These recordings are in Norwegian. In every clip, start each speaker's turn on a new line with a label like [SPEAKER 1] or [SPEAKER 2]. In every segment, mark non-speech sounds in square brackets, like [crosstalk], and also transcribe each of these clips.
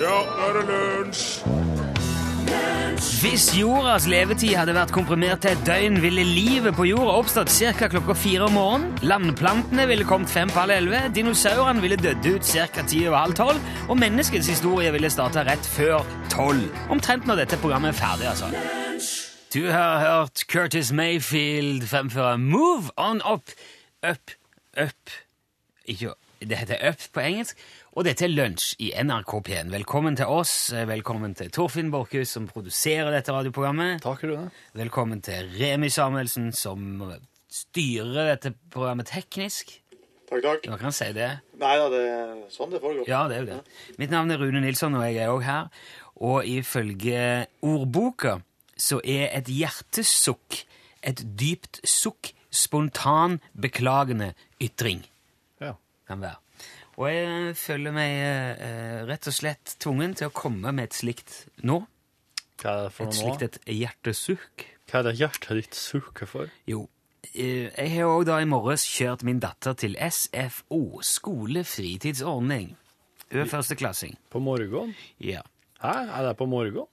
[SPEAKER 1] nå er det lunsj!
[SPEAKER 2] Hvis jordas levetid hadde vært komprimert til et døgn, ville livet på jorda oppstått ca. klokka fire om morgenen. Landplantene ville kommet fem på halv elleve. Dinosaurene ville dødd ut ca. ti over halv tolv. Og menneskets historie ville starta rett før tolv. Omtrent når dette programmet er ferdig, altså. Du har hørt Curtis Mayfield fremføre Move On Up. Up, up Ikke Det heter Up på engelsk. Og dette er Lunsj i NRK P1. Velkommen til oss. eh, Velkommen til Torfinn Borchhus, som produserer dette radioprogrammet.
[SPEAKER 3] Takk, Rune.
[SPEAKER 2] Velkommen til Remi Samuelsen, som styrer dette programmet teknisk.
[SPEAKER 3] Takk, takk.
[SPEAKER 2] Hva kan jeg si det?
[SPEAKER 3] Nei da, det er sånn det foregår.
[SPEAKER 2] Ja, det er jo det. Mitt navn er Rune Nilsson, og jeg er òg her. Og ifølge ordboka så er et hjertesukk et dypt sukk, spontan beklagende ytring.
[SPEAKER 3] Ja.
[SPEAKER 2] Kan være. Og jeg føler meg eh, rett og slett tvungen til å komme med et slikt nå.
[SPEAKER 3] Hva er det for
[SPEAKER 2] Et
[SPEAKER 3] noe
[SPEAKER 2] slikt
[SPEAKER 3] nå?
[SPEAKER 2] et hjertesukk.
[SPEAKER 3] Hva er det hjertet ditt suker for?
[SPEAKER 2] Jo. eh, Jeg har òg da i morges kjørt min datter til SFO, skolefritidsordning. Hun er førsteklassing.
[SPEAKER 3] På morgenen?
[SPEAKER 2] Ja.
[SPEAKER 3] Hæ, er det på morgenen?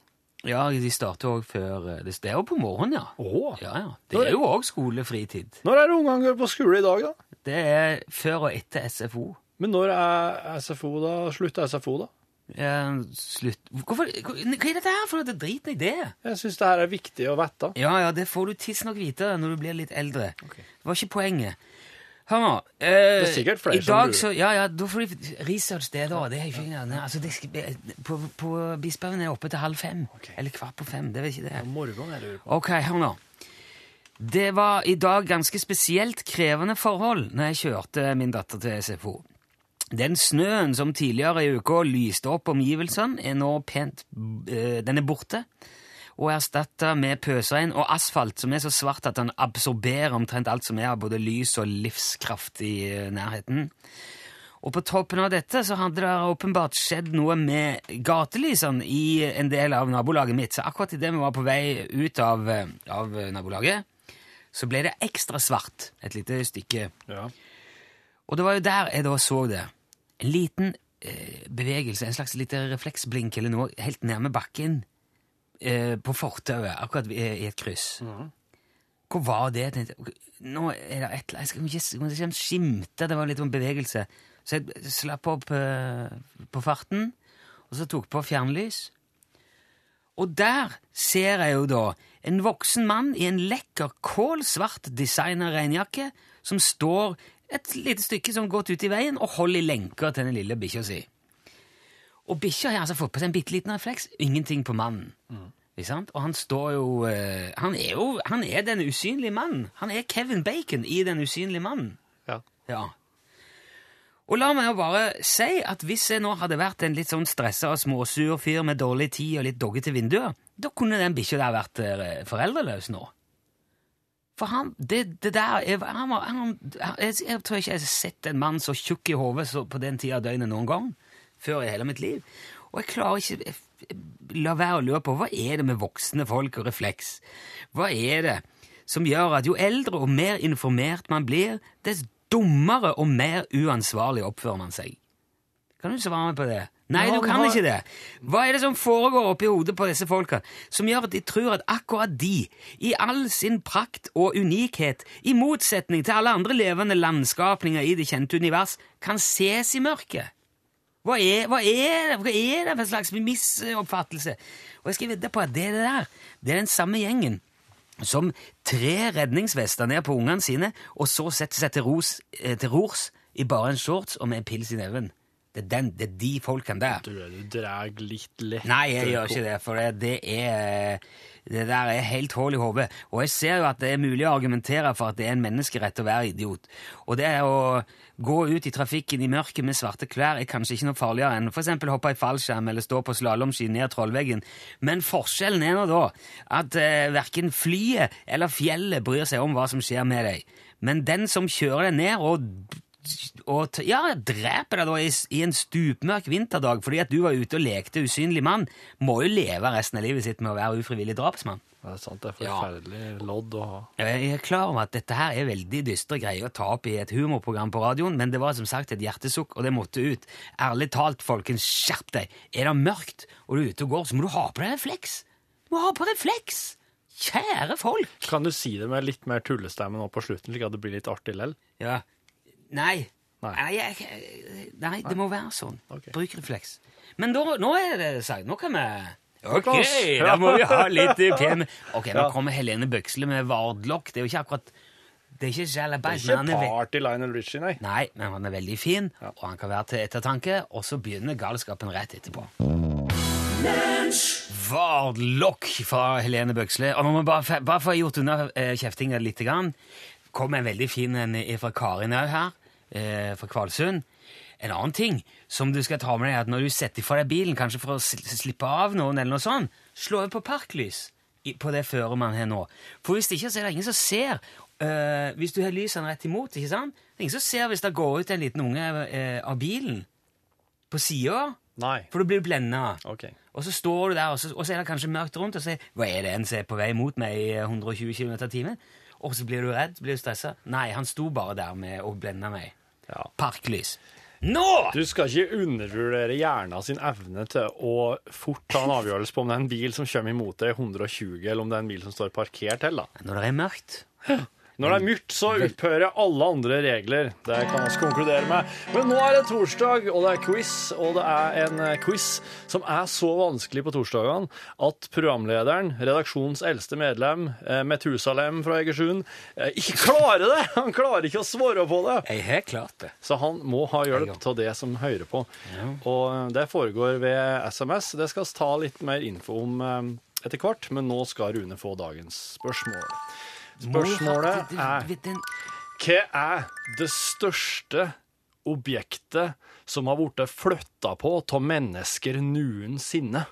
[SPEAKER 2] Ja, de starter òg før eh, Det det er jo på morgenen, ja.
[SPEAKER 3] Åh.
[SPEAKER 2] Ja, ja. Det er jo òg skolefritid.
[SPEAKER 3] Når er det ungene går på skole i dag, da?
[SPEAKER 2] Det er før og etter SFO.
[SPEAKER 3] Men når er SFO, da? Slutt SFO, da?
[SPEAKER 2] Eh, slutt Hvorfor, hva hva er dette her for noe? Drit i det.
[SPEAKER 3] Jeg syns det her er viktig å vite.
[SPEAKER 2] Ja, ja, det får du tidsnok vite når du blir litt eldre. Det var ikke poenget. Hør nå eh,
[SPEAKER 3] Det er sikkert flere
[SPEAKER 2] i
[SPEAKER 3] som
[SPEAKER 2] dag
[SPEAKER 3] lurer.
[SPEAKER 2] så, Ja, ja, da får de research det, da. Det er ikke, nei, altså, det skal, på, på Bispehaugen er jeg oppe til halv fem. Eller kvart på fem. Det er vel ikke det.
[SPEAKER 3] Morgenen jeg lurer på.
[SPEAKER 2] Ok, hør nå. Det var i dag ganske spesielt krevende forhold når jeg kjørte min datter til SFO. Den snøen som tidligere i uka lyste opp omgivelsene, er nå pent eh, Den er borte og erstatta med pøsregn og asfalt som er så svart at den absorberer omtrent alt som er av både lys og livskraft i eh, nærheten. Og på toppen av dette så hadde det åpenbart skjedd noe med gatelysene i en del av nabolaget mitt. Så akkurat idet vi var på vei ut av, eh, av nabolaget, så ble det ekstra svart et lite stykke.
[SPEAKER 3] Ja.
[SPEAKER 2] Og det var jo der jeg da så det. En liten eh, bevegelse, en slags lite refleksblink eller noe, helt nærme bakken eh, på fortauet, akkurat i, i et kryss. Hvor var det? Jeg tenkte, ok, nå er det et eller annet, jeg skal ikke, jeg må ikke skimte, det var litt om bevegelse. Så jeg slapp opp eh, på farten, og så tok på fjernlys. Og der ser jeg jo da en voksen mann i en lekker kålsvart designer-regnjakke som står et lite stykke som gått ut i veien og holder i lenker til den lille bikkja si. Og bikkja har altså fått på seg en bitte liten refleks. Ingenting på mannen. Ikke sant? Og han står jo eh, Han er jo han er den usynlige mannen. Han er Kevin Bacon i Den usynlige mannen.
[SPEAKER 3] ja.
[SPEAKER 2] Ja. Og la meg jo bare si at hvis jeg nå hadde vært en litt sånn stressa og småsur fyr med dårlig tid og litt doggete vinduer, da kunne den bikkja der vært eh, foreldreløs nå. For han det, det der er, han, var- han, jeg, jeg tror ikke jeg har sett en mann så tjukk i hodet så- på den tida av døgnet noen gang før i hele mitt liv. Og jeg klarer ikke jeg, jeg, La være å lure på hva er det med voksne folk og refleks? Hva er det som gjør at jo eldre og mer informert man blir, dess dummere og mer uansvarlig oppfører man seg? Kan du svare meg på det? Nei,
[SPEAKER 3] Ja,
[SPEAKER 2] du
[SPEAKER 3] vi
[SPEAKER 2] kan
[SPEAKER 3] har-
[SPEAKER 2] ikke det. Hva er det som foregår oppi hodet på disse folka, som gjør at de tror at akkurat de, i all sin prakt og unikhet, i motsetning til alle andre levende landskapninger i det kjente univers, kan ses i mørket? Hva er, hva er det Hva er det for en slags misoppfattelse? Og jeg skal vedde på at det er det der. Det er den samme gjengen som tre redningsvester ned på ungene sine, og så setter seg til, ros, eh, til rors i bare en shorts og med en pils i neven. Det er, den, det er de folkene der.
[SPEAKER 3] Tror jeg du drar litt lett
[SPEAKER 2] Nei, jeg gjør ikke det, for det, det er det der er helt hull i hodet. Og jeg ser jo at det er mulig å argumentere for at det er en menneskerett å være idiot. Og det å gå ut i trafikken i mørket med svarte klær er kanskje ikke noe farligere enn f.eks. hoppe i fallskjerm eller stå på slalåmski ned trollveggen. Men forskjellen er nå da at eh, verken flyet eller fjellet bryr seg om hva som skjer med deg. Men den som kjører deg ned og og t- ja, dreper deg da i, s- i en stupmørk vinterdag fordi at du var ute og lekte usynlig mann, må jo leve resten av livet sitt med å være ufrivillig drapsmann.
[SPEAKER 3] Det er sant, det er
[SPEAKER 2] Ja.
[SPEAKER 3] forferdelig lodd å ha.
[SPEAKER 2] Jeg er klar over at dette her er veldig dystre greier å ta opp i et humorprogram på radioen, men det var som sagt et hjertesukk, og det måtte ut. Ærlig talt, folkens, skjerp deg! Er det mørkt og du er ute og går, så må du ha på deg refleks! Du må ha på refleks! Kjære folk!
[SPEAKER 3] Kan du si det med litt mer tullestemme nå på slutten, slik at det blir litt artig lell?
[SPEAKER 2] Ja. Nei.
[SPEAKER 3] Nei.
[SPEAKER 2] Nei, jeg, nei det må være sånn.
[SPEAKER 3] Ok.
[SPEAKER 2] Bruk refleks. Men da, nå er det sagt. Nå kan vi Ok,
[SPEAKER 3] oss.
[SPEAKER 2] da må vi ha litt pen Ok, nå kommer Helene Bøksle med Vardlokk. Det er jo ikke akkurat Det er ikke Jalabais,
[SPEAKER 3] Ikke
[SPEAKER 2] men han er ve-
[SPEAKER 3] party Lionel Richie, nei.
[SPEAKER 2] Nei, men han er veldig fin, og han kan være til ettertanke, og så begynner galskapen rett etterpå. Vardlokk fra Helene Bøksle. Og nå må jeg bare, fe- bare for å ha gjort unna eh, kjeftinga litt, grann, kom en veldig fin en eh, fra Karin òg her, eh, fra Kvalsund. En annen ting som du skal ta med deg, er at når du setter fra deg bilen, kanskje for å sl- slippe av noen, eller noe sånt, slå over på parklys i- på det føret man har nå. For hvis ikke, så er det ingen som ser. eh, hvis du har lysene rett imot, ikke sant? Det er ingen som ser hvis det går ut en liten unge eh, av bilen på sida,
[SPEAKER 3] Nei.
[SPEAKER 2] for du blir blenda.
[SPEAKER 3] Ok.
[SPEAKER 2] Og så står du der, og så, og så er det kanskje mørkt rundt, og så er- hva er det en som er på vei mot meg i eh, 120 km i timen? Og så blir du redd, blir du stressa. Nei, han sto bare der med og blenda meg.
[SPEAKER 3] Ja.
[SPEAKER 2] Parklys. Nå!
[SPEAKER 3] Du skal ikke undervurdere hjernen sin evne til å fort ta en avgjørelse på om det er en bil som kommer imot deg i 120, eller om det er en bil som står parkert til. da.
[SPEAKER 2] Når det er mørkt.
[SPEAKER 3] Når det er mørkt, så opphører alle andre regler. Det kan vi konkludere med. Men nå er det torsdag, og det er quiz. Og det er en eh, quiz som er så vanskelig på torsdagene at programlederen, redaksjonens eldste medlem, eh, Methusalem fra Egersund, eh, ikke klarer det! Han klarer ikke å svare på det!
[SPEAKER 2] Jeg har klart det.
[SPEAKER 3] Så han må ha hjelp av det som hører på. Og det foregår ved SMS. Det skal vi ta litt mer info om eh, etter hvert, men nå skal Rune få dagens spørsmål. Spørsmålet er Hva er det største objektet som har blitt flytta på av mennesker noensinne?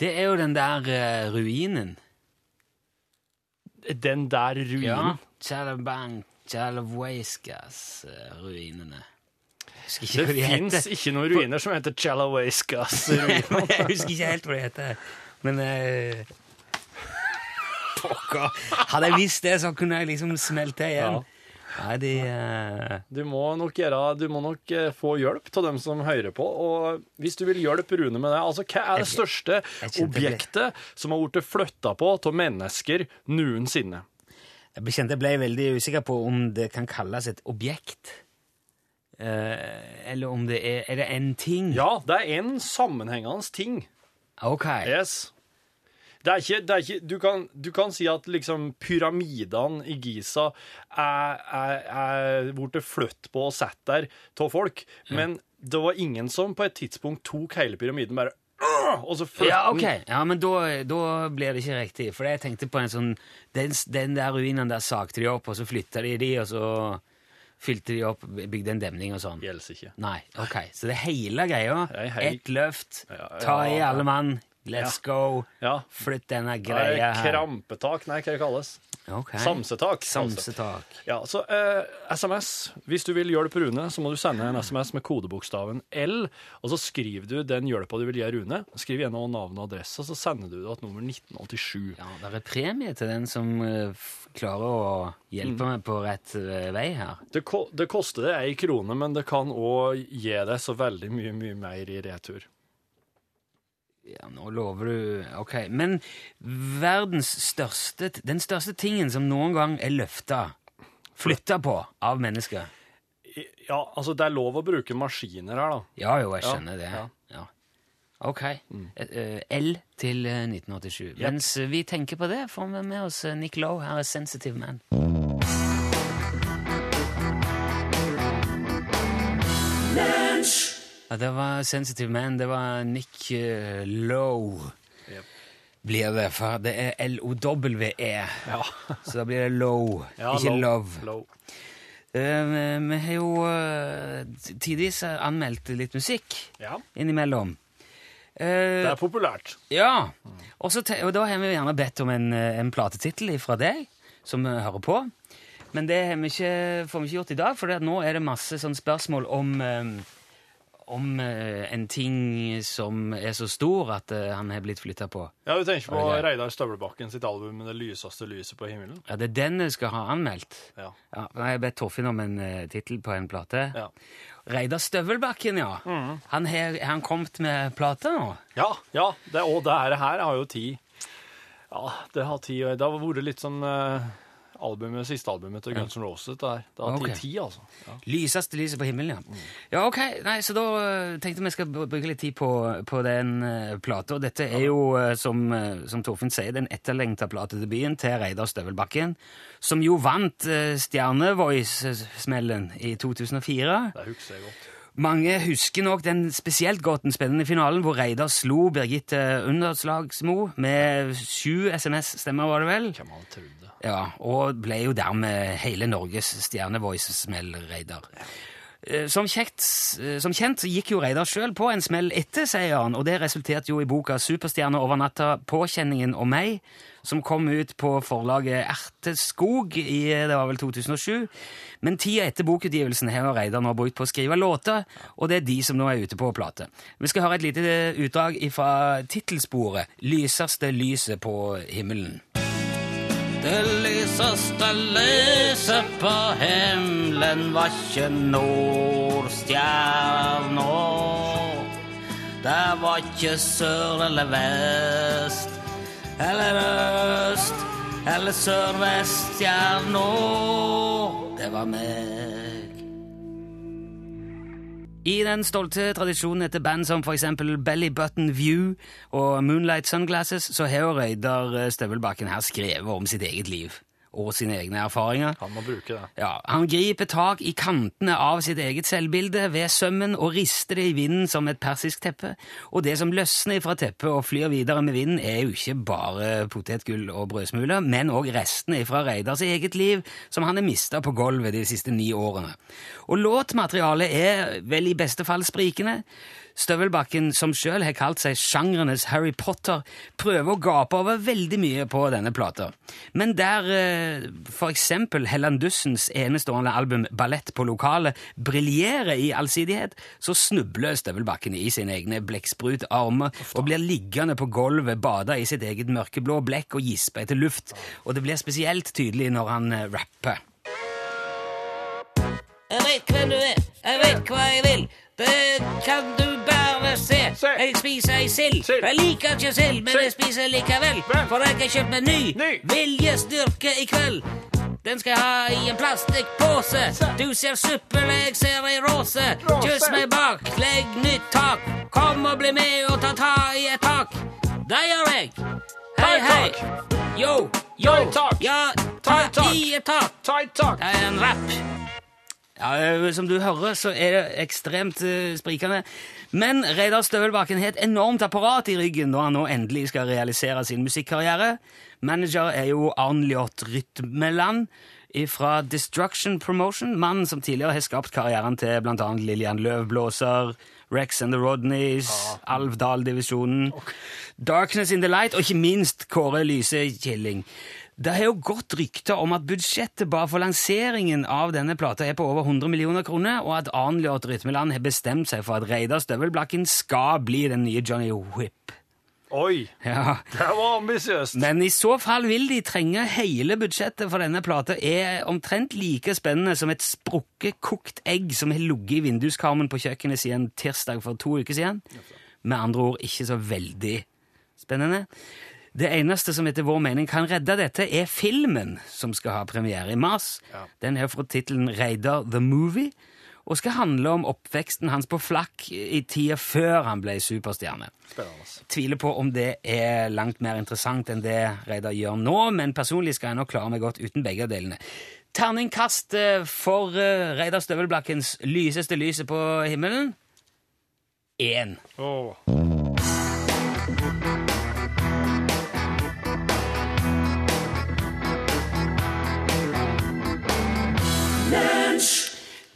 [SPEAKER 2] Det er jo den der eh, ruinen.
[SPEAKER 3] Den der ruinen.
[SPEAKER 2] Ja. Chalabank, Chalawaiskas-ruinene. eh, Husker ikke
[SPEAKER 3] Det
[SPEAKER 2] hva de
[SPEAKER 3] fins
[SPEAKER 2] heter.
[SPEAKER 3] ikke noen ruiner som heter Chalawaiskas.
[SPEAKER 2] Jeg husker ikke helt hva det heter. Men eh, Pokker! Hadde jeg visst det, så kunne jeg liksom smelte igjen.
[SPEAKER 3] Ja.
[SPEAKER 2] Nei, de eh,
[SPEAKER 3] Du må nok, gjøre, du må nok eh, få hjelp av dem som hører på. Og hvis du vil hjelpe Rune med det altså Hva er det største
[SPEAKER 2] kjente det ble-
[SPEAKER 3] objektet som har blitt flytta på av mennesker noensinne?
[SPEAKER 2] Jeg ble- kjente jeg ble veldig usikker på om det kan kalles et objekt. Eh, eller om det er Er det en ting?
[SPEAKER 3] Ja, det er en sammenhengende ting.
[SPEAKER 2] Ok.
[SPEAKER 3] Yes. Det er ikke, det er ikke, du, kan, du kan si at liksom pyramidene i Giza er, er, er blitt flytt på og satt der av folk, men det var ingen som på et tidspunkt tok hele pyramiden bare «Åh!» og så flyttet
[SPEAKER 2] Ja,
[SPEAKER 3] den.
[SPEAKER 2] ok. Ja, men da, da blir det ikke riktig. For jeg tenkte på en sånn Den, den der ruinen der sagte de opp, og så flytta de de, og så fylte de opp, bygde en demning og sånn.
[SPEAKER 3] Gjelder ikke.
[SPEAKER 2] Nei, ok. Så det er hele greia.
[SPEAKER 3] er hei-
[SPEAKER 2] Ett løft.
[SPEAKER 3] Ja, ja,
[SPEAKER 2] Ta i
[SPEAKER 3] ja.
[SPEAKER 2] alle mann. Let's go.
[SPEAKER 3] Ja.
[SPEAKER 2] Flytt denne
[SPEAKER 3] Det
[SPEAKER 2] greia
[SPEAKER 3] er
[SPEAKER 2] her.
[SPEAKER 3] Krampetak, nei, hva det kalles?
[SPEAKER 2] Ok.
[SPEAKER 3] Samsetak. altså.
[SPEAKER 2] Samsetak.
[SPEAKER 3] Ja, så eh, SMS. Hvis du vil hjelpe Rune, så må du sende en SMS med kodebokstaven L, og så skriver du den hjelpa du vil gi Rune. Skriv gjerne navn og adresse, og så sender du det til nummer 1987.
[SPEAKER 2] Ja, det er premie til den som eh, f- klarer å hjelpe
[SPEAKER 3] Mm.
[SPEAKER 2] meg på rett eh, vei her.
[SPEAKER 3] Det, ko det koster deg ei krone, men det kan òg gi deg så veldig mye, mye mer i retur.
[SPEAKER 2] Ja, nå lover du Ok. Men verdens største Den største tingen som noen gang er løfta, flytta på, av mennesker
[SPEAKER 3] I- Ja, altså, det er lov å bruke maskiner her, da.
[SPEAKER 2] Ja jo, jeg
[SPEAKER 3] Ja,
[SPEAKER 2] skjønner det.
[SPEAKER 3] ja. Mm.
[SPEAKER 2] Ja. Ok. Et, eh, L til eh, 1987. Mens eh, vi tenker på det, får vi med oss eh, Nick Lowe. Her er Sensitive Man. Ja, det var Sensitive Man. Det var Nick eh, Lowe.
[SPEAKER 3] Jep.
[SPEAKER 2] Blir det, for det er L-O-W-E.
[SPEAKER 3] [laughs] Ja.
[SPEAKER 2] E. Så da blir det low,
[SPEAKER 3] Ja,
[SPEAKER 2] ikke
[SPEAKER 3] lov.
[SPEAKER 2] love.
[SPEAKER 3] Lov.
[SPEAKER 2] Eh, vi- vi har jo eh, tidvis eh, anmeldt litt musikk
[SPEAKER 3] Ja.
[SPEAKER 2] innimellom.
[SPEAKER 3] Det
[SPEAKER 2] Eh,
[SPEAKER 3] er populært.
[SPEAKER 2] ja. Og, så te og da har vi gjerne bedt om en, eh, en platetittel fra deg, som eh, hører på. Men det har vi ikke, får vi ikke gjort i dag, for det at nå er det masse sånn spørsmål om, eh, om eh, en ting som er så stor at eh, han har blitt flytta på.
[SPEAKER 3] Ja, du tenker på
[SPEAKER 2] Oi, ja.
[SPEAKER 3] Reidar Støvlebakken sitt album 'Det lyseste lyset på himmelen'?
[SPEAKER 2] Ja, det er den jeg skal ha anmeldt.
[SPEAKER 3] Ja.
[SPEAKER 2] Ja, nei, jeg bedt Torfinn om en uh, tittel på en plate.
[SPEAKER 3] Ja.
[SPEAKER 2] Reidar Støvelbakken, ja. Han har har han kommet med plate nå.
[SPEAKER 3] Ja, ja det, og det her her har jo ti Ja, det har ti år. Det har vært litt sånn eh, albumet, siste albumet til Guns N' Roses. Det, her. det har ti,
[SPEAKER 2] Ok.
[SPEAKER 3] ti, altså. Ja.
[SPEAKER 2] Lyseste lyset på himmelen, ja. Ja, ok, nei, Så da eh, tenkte vi skal br- bruke litt tid på, på den eh, plata. Og dette er jo, eh, som, eh, som Torfinn sier, den etterlengta platedebuten til Reidar Støvelbakken, som jo vant eh, Stjernevoice-smellen i 2004.
[SPEAKER 3] Det husker jeg godt.
[SPEAKER 2] Mange husker nok den spesielt godt den spennende finalen, hvor Reidar slo Birgitte Underslagsmo med sju SMS-stemmer, var det vel?
[SPEAKER 3] Hvem hadde trodd det?
[SPEAKER 2] Ja, og ble jo dermed hele Norges stjernevoice-smell, Reidar. Eh, Som, kjekt, eh, som kjent gikk jo Reidar sjøl på en smell etter seieren, og det resulterte jo i boka 'Superstjerne over natta', 'Påkjenningen og meg', som kom ut på forlaget Erteskog i eh, det var vel 2007. Men tida etter bokutgivelsen har jo Reidar nå brukt på å skrive låter, og det er de som nå er ute på plate. Vi skal høre et lite eh, utdrag fra tittelsporet 'Lyseste lyset på himmelen'. Det lyseste lyset på himmelen var ikke nordstjerna. Det var ikke sør eller vest, eller øst, eller sørveststjerna. Det var meg. I den stolte tradisjonen etter band som f.eks. Belly Button View og Moonlight Sunglasses, så har jo Røydar Støvelbakken her skrevet om sitt eget liv og sine egne erfaringer.
[SPEAKER 3] Han må bruke det.
[SPEAKER 2] Ja, Han griper tak i kantene av sitt eget selvbilde ved sømmen og rister det i vinden som et persisk teppe, og det som løsner fra teppet og flyr videre med vinden, er jo ikke bare potetgull og brødsmuler, men òg restene fra Reidars eget liv, som han har mista på gulvet de siste ni årene. Og låtmaterialet er vel i beste fall sprikende. Støvelbakken, som sjøl har kalt seg sjangrenes Harry Potter, prøver å gape over veldig mye på denne plata. Men der eh, for eksempel Helland Dussens enestående album Ballett på lokalet briljerer i allsidighet, så snubler Støvelbakken i sine egne blekksprut armer og blir liggende på gulvet, bada i sitt eget mørkeblå blekk og gispe etter luft. Og det blir spesielt tydelig når han eh, rapper. Jeg vet hvem du er, jeg vet hva jeg vil. Det kan du bare se.
[SPEAKER 3] Se.
[SPEAKER 2] Jeg spiser ei sild.
[SPEAKER 3] Sild.
[SPEAKER 2] Jeg liker ikke sild, men
[SPEAKER 3] Sild.
[SPEAKER 2] jeg spiser likevel.
[SPEAKER 3] Vel.
[SPEAKER 2] For jeg har kjøpt meg ny,
[SPEAKER 3] Ny.
[SPEAKER 2] viljestyrke i kveld. Den skal jeg ha i en plastikkpose. Du ser suppel, jeg ser ei råse.
[SPEAKER 3] Råse.
[SPEAKER 2] Kyss meg bak, legg nytt tak. Kom og bli med og ta ta i et tak. Det gjør jeg. Hei,
[SPEAKER 3] Ta
[SPEAKER 2] hei.
[SPEAKER 3] i tak.
[SPEAKER 2] Yo, yo.
[SPEAKER 3] Ta i tak.
[SPEAKER 2] Ja,
[SPEAKER 3] Ta
[SPEAKER 2] ta
[SPEAKER 3] i tak.
[SPEAKER 2] i et tak.
[SPEAKER 3] Tight talk!
[SPEAKER 2] Det er en rapp. Ja, eh, som du hører, så er det ekstremt eh, sprikende. Men Reidar Støvelbakken har et enormt apparat i ryggen når han nå endelig skal realisere sin musikkarriere. Manager er jo Arn Ljot Rytmeland fra Destruction Promotion, mannen som tidligere har skapt karrieren til bl.a. Lillian Løvblåser, Rex and the Rodneys, Alvdal-divisjonen, Darkness in the Light og ikke minst Kåre Lyse Killing. Det har jo gått rykter om at budsjettet bare for lanseringen av denne plata er på over 100 millioner kroner, og at Arnljot Rytmeland har bestemt seg for at Reidar Støvelblakken skal bli den nye Johnny Whip.
[SPEAKER 3] Oi,
[SPEAKER 2] Ja.
[SPEAKER 3] det var ambisiøst!
[SPEAKER 2] Men i så fall vil de trenge hele budsjettet for denne plata er omtrent like spennende som et sprukket kokt egg som har ligget i vinduskarmen på kjøkkenet siden tirsdag for to uker siden. Med andre ord ikke så veldig spennende. Det eneste som etter vår mening kan redde dette, er filmen som skal ha premiere i mars. Den er fra tittelen Reidar the Movie og skal handle om oppveksten hans på flakk i tida før han ble superstjerne
[SPEAKER 3] Spennende. altså. ass.
[SPEAKER 2] tviler på om det er langt mer interessant enn det Reidar gjør nå, men personlig skal jeg nok klare meg godt uten begge delene. Terningkast eh, for eh, Reidar Støvelblakkens lyseste lyset på himmelen. Én.
[SPEAKER 3] Åh.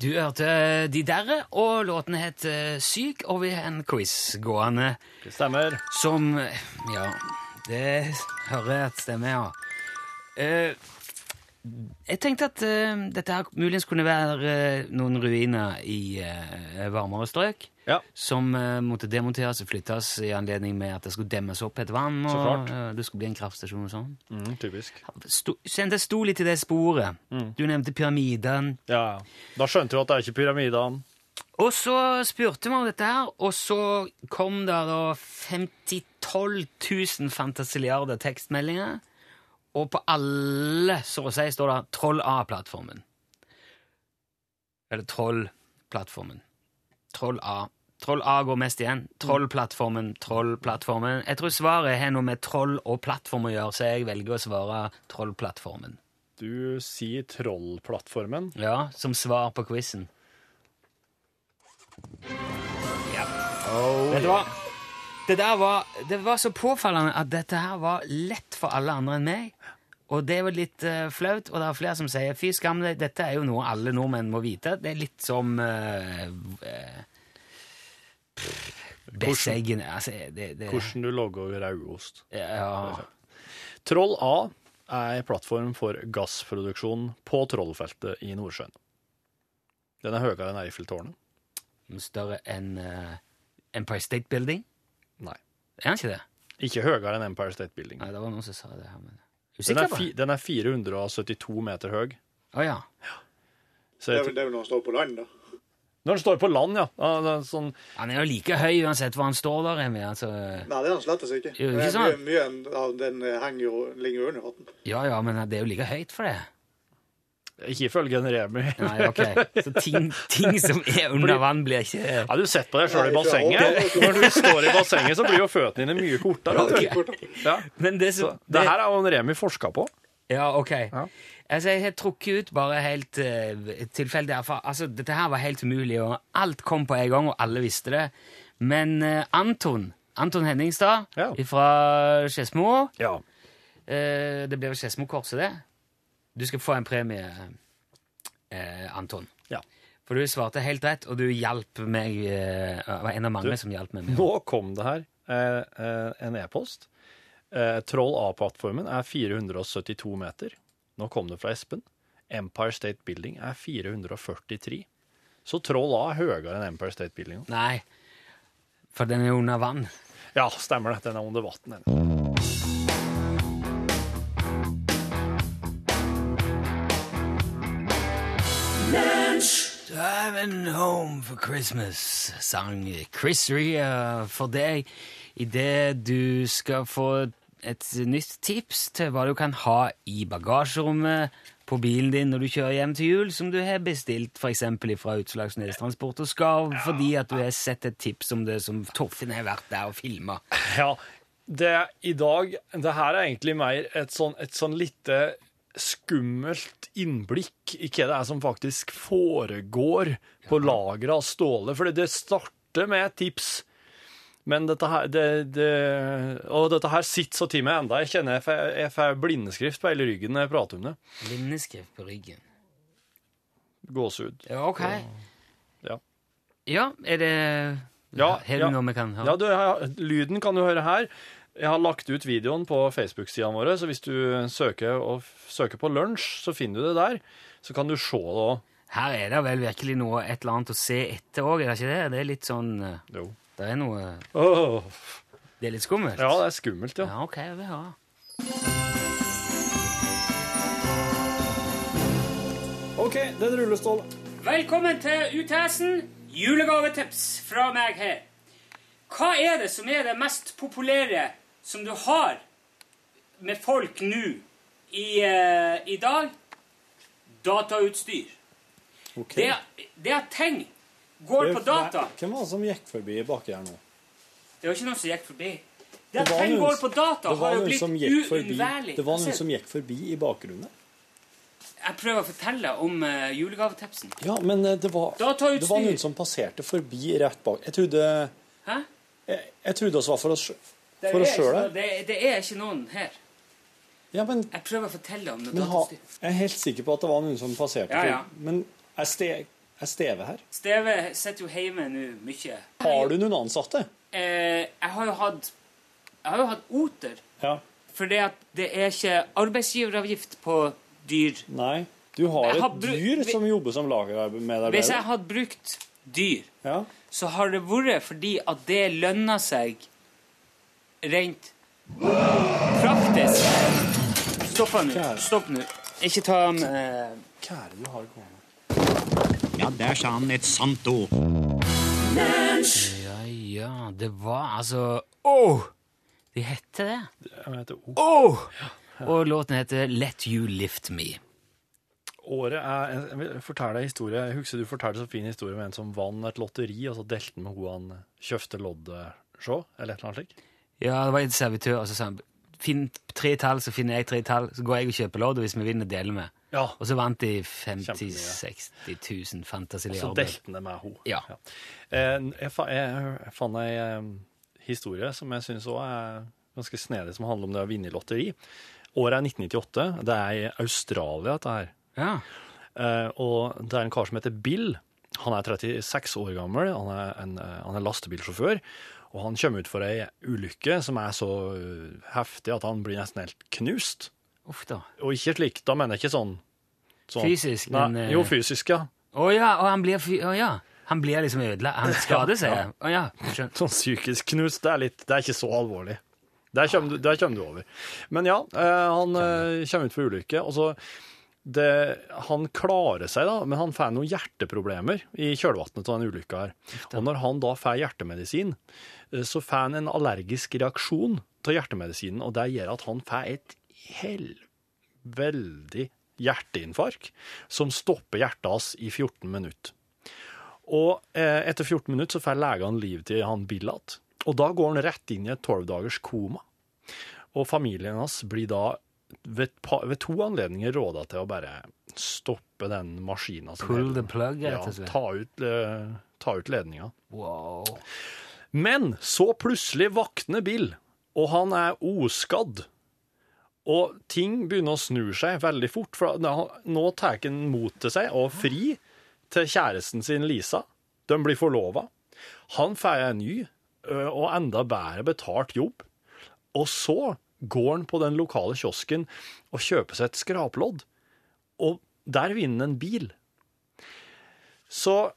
[SPEAKER 2] Du hørte eh, De Derre, og låten het eh, Syk, og vi har en quiz gående
[SPEAKER 3] Det stemmer.
[SPEAKER 2] som Ja, det hører jeg at stemmer, ja. Eh, Jeg tenkte at eh, dette her muligens kunne være eh, noen ruiner i eh, varmere strøk.
[SPEAKER 3] Ja.
[SPEAKER 2] Som eh, måtte demonteres og flyttes i anledning med at det skulle demmes opp et vann.
[SPEAKER 3] Så
[SPEAKER 2] og
[SPEAKER 3] klart.
[SPEAKER 2] eh, Det skulle bli en kraftstasjon og sånn.
[SPEAKER 3] Mm, typisk.
[SPEAKER 2] Sto, kjente jeg sto litt i det sporet.
[SPEAKER 3] Mm.
[SPEAKER 2] Du nevnte pyramiden.
[SPEAKER 3] Ja, ja. Da skjønte du at det er ikke pyramidene.
[SPEAKER 2] Og så spurte vi om dette her, og så kom det da 50 12 000 fantasiliarder tekstmeldinger. Og på alle, så å si, står det 'Troll A-plattformen'. Eller 'Troll-plattformen'. Troll A. Troll A går mest igjen. Troll-plattformen, Troll-plattformen. Jeg tror svaret har noe med troll og plattform å gjøre, så jeg velger å svare Troll-plattformen.
[SPEAKER 3] Du sier trollplattformen.
[SPEAKER 2] Ja, som svar på quizen.
[SPEAKER 3] Oh,
[SPEAKER 2] Vet du hva? Det der var, det var så påfallende at dette her var lett for alle andre enn meg. Og det var litt eh, flaut, og det er flere som sier fy skam deg, dette er jo noe alle nordmenn må vite. Det er litt som uh, Besseggen altså, det, det,
[SPEAKER 3] Hvordan du lager rauost.
[SPEAKER 2] Ja,
[SPEAKER 3] Troll A er en plattform for gassproduksjon på Trollfeltet i Nordsjøen. Den er høyere enn Eiffeltårnet.
[SPEAKER 2] større enn eh, Empire State Building?
[SPEAKER 3] Nei.
[SPEAKER 2] Er han ikke det?
[SPEAKER 3] Ikke høyere enn Empire State Building.
[SPEAKER 2] Nei, det var noen som sa det her, men
[SPEAKER 3] Den
[SPEAKER 2] Usikker
[SPEAKER 3] er,
[SPEAKER 2] på
[SPEAKER 3] fi,
[SPEAKER 2] det?
[SPEAKER 3] den er 472 meter høy.
[SPEAKER 2] Å ja.
[SPEAKER 3] Så
[SPEAKER 1] Det
[SPEAKER 3] jeg
[SPEAKER 1] er vel det er vel når han står på land, da.
[SPEAKER 3] tror- når den står på land, ja. ja det er sånn,
[SPEAKER 2] Han er jo like høy uansett hvor han står der. Remi, Altså,
[SPEAKER 1] Nei, det er han slettes ikke.
[SPEAKER 2] Jo, ikke
[SPEAKER 1] Det er
[SPEAKER 2] sant?
[SPEAKER 1] Mye, mye av den henger jo, ligger jo under vann.
[SPEAKER 2] ja ja, men det er jo like høyt for det.
[SPEAKER 3] ikke ifølge en remi.
[SPEAKER 2] Nei, ok. Så ting, ting som er under vann, blir ikke
[SPEAKER 3] [laughs] Har du sett på deg sjøl i
[SPEAKER 1] Nei, ikke
[SPEAKER 3] bassenget?
[SPEAKER 1] overhodet.
[SPEAKER 3] Når du står i bassenget, så blir jo føttene dine mye kortere. vet du. Ja.
[SPEAKER 2] Men det som
[SPEAKER 3] Det her er jo en remi forska på.
[SPEAKER 2] Ja, ok. Altså, jeg har trukket ut bare helt eh, tilfeldig. her, for Altså, dette her var helt umulig, og alt kom på en gang, og alle visste det. Men eh, Anton Anton Henningstad
[SPEAKER 3] Ja.
[SPEAKER 2] fra Skedsmo
[SPEAKER 3] Ja.
[SPEAKER 2] eh, Det ble vel Skedsmo-korset, det? Du skal få en premie, eh, Anton.
[SPEAKER 3] ja.
[SPEAKER 2] For du svarte helt rett, og du hjalp meg. eh, Det var en av mange som hjalp meg. med
[SPEAKER 3] Nå kom det her eh, eh, en e-post. Eh, Troll A-plattformen er 472 meter. Nå kom det fra Espen. Empire State Building er 443. Så Troll A er høyere enn Empire State Building.
[SPEAKER 2] Nei, for den er under vann.
[SPEAKER 3] Ja, stemmer det. Den er under vann. den.
[SPEAKER 2] Driving home for Christmas, sang Chris Rea for deg idet du skal få et nytt tips til hva du kan ha i bagasjerommet på bilen din når du kjører hjem til jul, som du har bestilt f.eks. fra Utslagsnes Transport og Skarv, fordi at du har sett et tips om det som Torfinn har vært der og filma.
[SPEAKER 3] Ja, det er i dag Det her er egentlig mer et sånn, et sånn lite skummelt innblikk i hva det er som faktisk foregår på lageret av Ståle. For det starter med et tips. Men dette her det, det, Og dette her sitter så til meg enda. Jeg kjenner jeg får- jeg får blindeskrift på hele ryggen når jeg prater om det.
[SPEAKER 2] Blindeskrift på ryggen.
[SPEAKER 3] Gåsehud.
[SPEAKER 2] Ja, ok.
[SPEAKER 3] Ja.
[SPEAKER 2] Ja, er det
[SPEAKER 3] Ja,
[SPEAKER 2] Har du
[SPEAKER 3] ja.
[SPEAKER 2] noe vi kan høre?
[SPEAKER 3] Ja, du, ja, lyden kan du høre her. Jeg har lagt ut videoen på Facebook-sida vår, så hvis du søker, og, f- søker på lunsj, så finner du det der. Så kan du se det òg.
[SPEAKER 2] Her er det vel virkelig noe et eller annet å se etter òg, er det ikke det? Det er litt sånn eh,
[SPEAKER 3] Jo.
[SPEAKER 2] Det er noe
[SPEAKER 3] Åh.
[SPEAKER 2] Det er litt skummelt?
[SPEAKER 3] Ja, det er skummelt, ja.
[SPEAKER 2] Ja, ok, jeg vil ha.
[SPEAKER 3] OK, den ruller, Ståle.
[SPEAKER 2] Velkommen til UTS-en. Julegavetips fra meg her. Hva er det som er det mest populære som du har med folk nå i, eh, i dag? Datautstyr. Det, det er ting. Går på data.
[SPEAKER 3] Hvem var det som gikk forbi baki her nå?
[SPEAKER 2] Det var ikke noen som gikk forbi. Det at
[SPEAKER 3] var
[SPEAKER 2] ting
[SPEAKER 3] noen
[SPEAKER 2] går
[SPEAKER 3] som-
[SPEAKER 2] på data, har jo blitt uunnværlig. Se,
[SPEAKER 3] gikk forbi i bakgrunnen.
[SPEAKER 2] Jeg prøver å fortelle om eh, julegavetipsen.
[SPEAKER 4] Ja, men eh, det var,
[SPEAKER 2] Da tar jeg ut
[SPEAKER 4] det var
[SPEAKER 2] styr.
[SPEAKER 4] noen som passerte forbi rett bak. Jeg trodde,
[SPEAKER 2] Hæ?
[SPEAKER 4] jeg, jeg trodde oss var for oss, sj-
[SPEAKER 2] Det
[SPEAKER 4] for
[SPEAKER 2] er
[SPEAKER 4] oss
[SPEAKER 2] ikke
[SPEAKER 4] sjøl.
[SPEAKER 2] noe- det, det er ikke noen her.
[SPEAKER 4] Ja, men,
[SPEAKER 2] Jeg prøver å fortelle om det
[SPEAKER 4] men ha,
[SPEAKER 2] datastyr.
[SPEAKER 4] jeg er helt sikker på at det var noen som passerte.
[SPEAKER 2] Ja, ja.
[SPEAKER 4] forbi. Men er, ste, er Steve her?
[SPEAKER 2] Steve sitter jo hjemme nå mye.
[SPEAKER 4] Har du noen ansatte?
[SPEAKER 2] Eh, jeg har jo hatt Jeg har jo hatt oter.
[SPEAKER 4] Ja.
[SPEAKER 2] Fordi at det er ikke arbeidsgiveravgift på
[SPEAKER 5] dyr.
[SPEAKER 4] Nei. Du har
[SPEAKER 5] Jeg
[SPEAKER 4] et
[SPEAKER 5] har bru-
[SPEAKER 4] dyr
[SPEAKER 5] vi-
[SPEAKER 4] som jobber som
[SPEAKER 5] Hvis jeg
[SPEAKER 4] lagermedarbeider.
[SPEAKER 5] hadde brukt dyr,
[SPEAKER 4] Ja.
[SPEAKER 5] så har det vært fordi at det lønner seg rent praktisk. Stopp han nå. Stopp nå. Ikke ta han eh,
[SPEAKER 4] Kjære, du har gående.
[SPEAKER 6] Ja, der sa han et sant ord.
[SPEAKER 2] Ja, ja, det var altså Åh! De hette det.
[SPEAKER 3] Jeg heter O.
[SPEAKER 2] Åh! Og låten heter Let You Lift Me.
[SPEAKER 3] Året er Jeg vil fortelle deg en historie. Jeg husker du fortalte så fin historie om en som vant et lotteri, og så delte han med hun han kjøpte loddet sjå, eller et eller annet slikt.
[SPEAKER 2] Ja, det var en servitør, og så sa han Finn tre tall, så finner jeg tre tall, så går jeg og kjøper lodd, og hvis vi vinner, deler vi.
[SPEAKER 3] Ja.
[SPEAKER 2] Og så vant de 50
[SPEAKER 3] Kjempemye.
[SPEAKER 2] 60 000
[SPEAKER 3] Så
[SPEAKER 2] fantasiliarder.
[SPEAKER 3] delte han det med henne. Eh,
[SPEAKER 2] Ja.
[SPEAKER 3] Jeg, fa jeg, jeg fant ei eh, historie som jeg syns òg er ganske snedig, som handler om det å vinne i lotteri. Året er 1998. Det er i Australia, dette her.
[SPEAKER 2] Ja.
[SPEAKER 3] Eh, og det er en kar som heter Bill. Han er 36 år gammel, han er, en, eh, han er lastebilsjåfør. Og han kommer ut for ei ulykke som er så eh, heftig at han blir nesten helt knust.
[SPEAKER 2] Uff da.
[SPEAKER 3] Og ikke slik, da mener jeg ikke sånn. sånn.
[SPEAKER 2] Fysisk,
[SPEAKER 3] Nei,
[SPEAKER 2] men, eh,
[SPEAKER 3] Jo, fysisk, ja.
[SPEAKER 2] Å ja, og han blir, fy- å, ja. han blir liksom ødelagt. Han skader seg.
[SPEAKER 3] [laughs] Ja.
[SPEAKER 2] Å ja. skjønner.
[SPEAKER 3] [laughs] Sånn psykisk knust, det er, litt, det er ikke så alvorlig. Der kommer, du, der kommer du over. Men ja, eh, han eh, kommer ut for ulykke, og så det, Han klarer seg, da, men han får noen hjerteproblemer i kjølvannet av den ulykka. her. Og når han da får hjertemedisin, eh, så får han en allergisk reaksjon til hjertemedisinen, og det gjør at han får et hel veldig hjerteinfarkt som stopper hjertet hans i 14 minutter. Og eh, etter 14 minutter så får legene liv til han Bill igjen. Og da går han rett inn i et 12-dagers koma. Og familien hans blir da ved, et pa- ved to anledninger råda til å bare stoppe den maskina. som
[SPEAKER 2] Pull
[SPEAKER 3] heter-
[SPEAKER 2] the plug, rett
[SPEAKER 3] ja,
[SPEAKER 2] og slett.
[SPEAKER 3] ta ut, eh, ta ut ledninga.
[SPEAKER 2] Wow.
[SPEAKER 3] Men så plutselig våkner Bill, og han er oskadd. Og ting begynner å snu seg veldig fort, for da- nå tar han mot til seg og fri til kjæresten sin Lisa. De blir forlova. Han får en ny ø, og enda bedre betalt jobb. Og så går han på den lokale kiosken og kjøper seg et skraplodd. Og der vinner han en bil. Så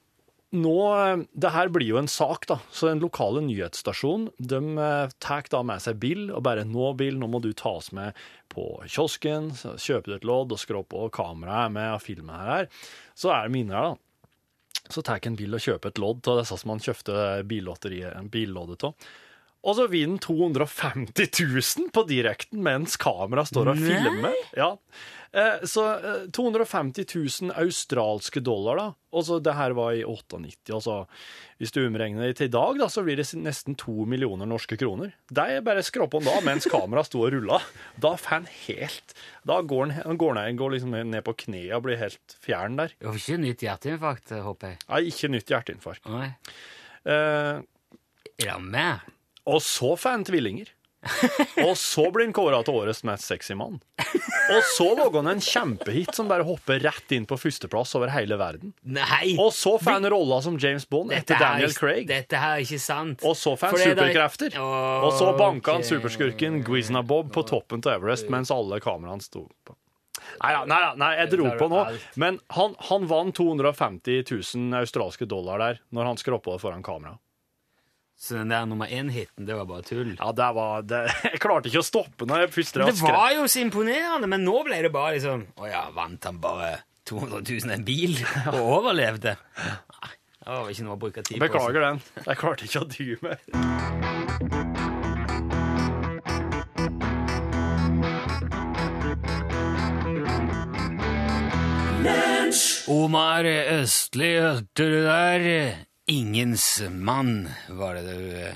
[SPEAKER 3] nå, eh, det her blir jo en sak da, så den lokale nyhetsstasjonen, de eh, tar da med seg Bill, og bare nå Bill, nå må du ta oss med på kiosken, så kjøper du et lodd og skrå på, og kameraet er med og filmer her, så er det mine her da. Så tar en Bill og kjøper et lodd til disse som han kjøpte billotteriet- billoddet til, og så vinner 250 000 på direkten mens kamera står og
[SPEAKER 2] Nei?
[SPEAKER 3] filmer. Ja. Eh, Så eh, 250 000 australske dollar, da. Og så det her var i 98, altså. Hvis du omregner det til i dag, da, så blir det nesten to millioner norske kroner. Det er bare skrap om da, mens kameraet sto og rulla. Da får han helt Da går han, han går, ned, går liksom ned på kneet og blir helt fjern der.
[SPEAKER 2] Du får ikke nytt hjerteinfarkt, håper jeg.
[SPEAKER 3] Nei, ikke nytt hjerteinfarkt.
[SPEAKER 2] Nei.
[SPEAKER 3] Eh,
[SPEAKER 2] Er det mer?
[SPEAKER 3] Og så får han tvillinger. Og så blir han kåra til årets mest sexy mann. Og så lager han en kjempehit som bare hopper rett inn på førsteplass over hele verden.
[SPEAKER 2] Nei!
[SPEAKER 3] Og så får han rolla som James Bond etter
[SPEAKER 2] her er
[SPEAKER 3] Daniel
[SPEAKER 2] ikke-
[SPEAKER 3] Craig.
[SPEAKER 2] Dette her er ikke sant.
[SPEAKER 3] Og så får
[SPEAKER 2] For
[SPEAKER 3] han
[SPEAKER 2] det er da-
[SPEAKER 3] superkrefter.
[SPEAKER 2] Åh,
[SPEAKER 3] Og så banka han
[SPEAKER 2] ok.
[SPEAKER 3] superskurken Gwizna Bob på toppen av Everest mens alle kameraene sto på. Nei da, nei, da, nei, jeg dro på nå. Men han, han vant 250 000 australske dollar der når han skroppa det foran kamera.
[SPEAKER 2] Så den der nummer én-hiten, det var bare tull.
[SPEAKER 3] Ja, det var det, [laughs] Jeg klarte ikke å stoppe når jeg først
[SPEAKER 2] Det
[SPEAKER 3] skrev.
[SPEAKER 2] var jo så imponerende, men nå ble det bare liksom Å ja, vant han bare 200 000 en bil og overlevde? Nei, det var ikke noe å bruke tid på. altså.
[SPEAKER 3] Beklager den. Jeg klarte ikke å dy meg.
[SPEAKER 2] Omar Østli, hørte du der? Ingens mann, var det du eh.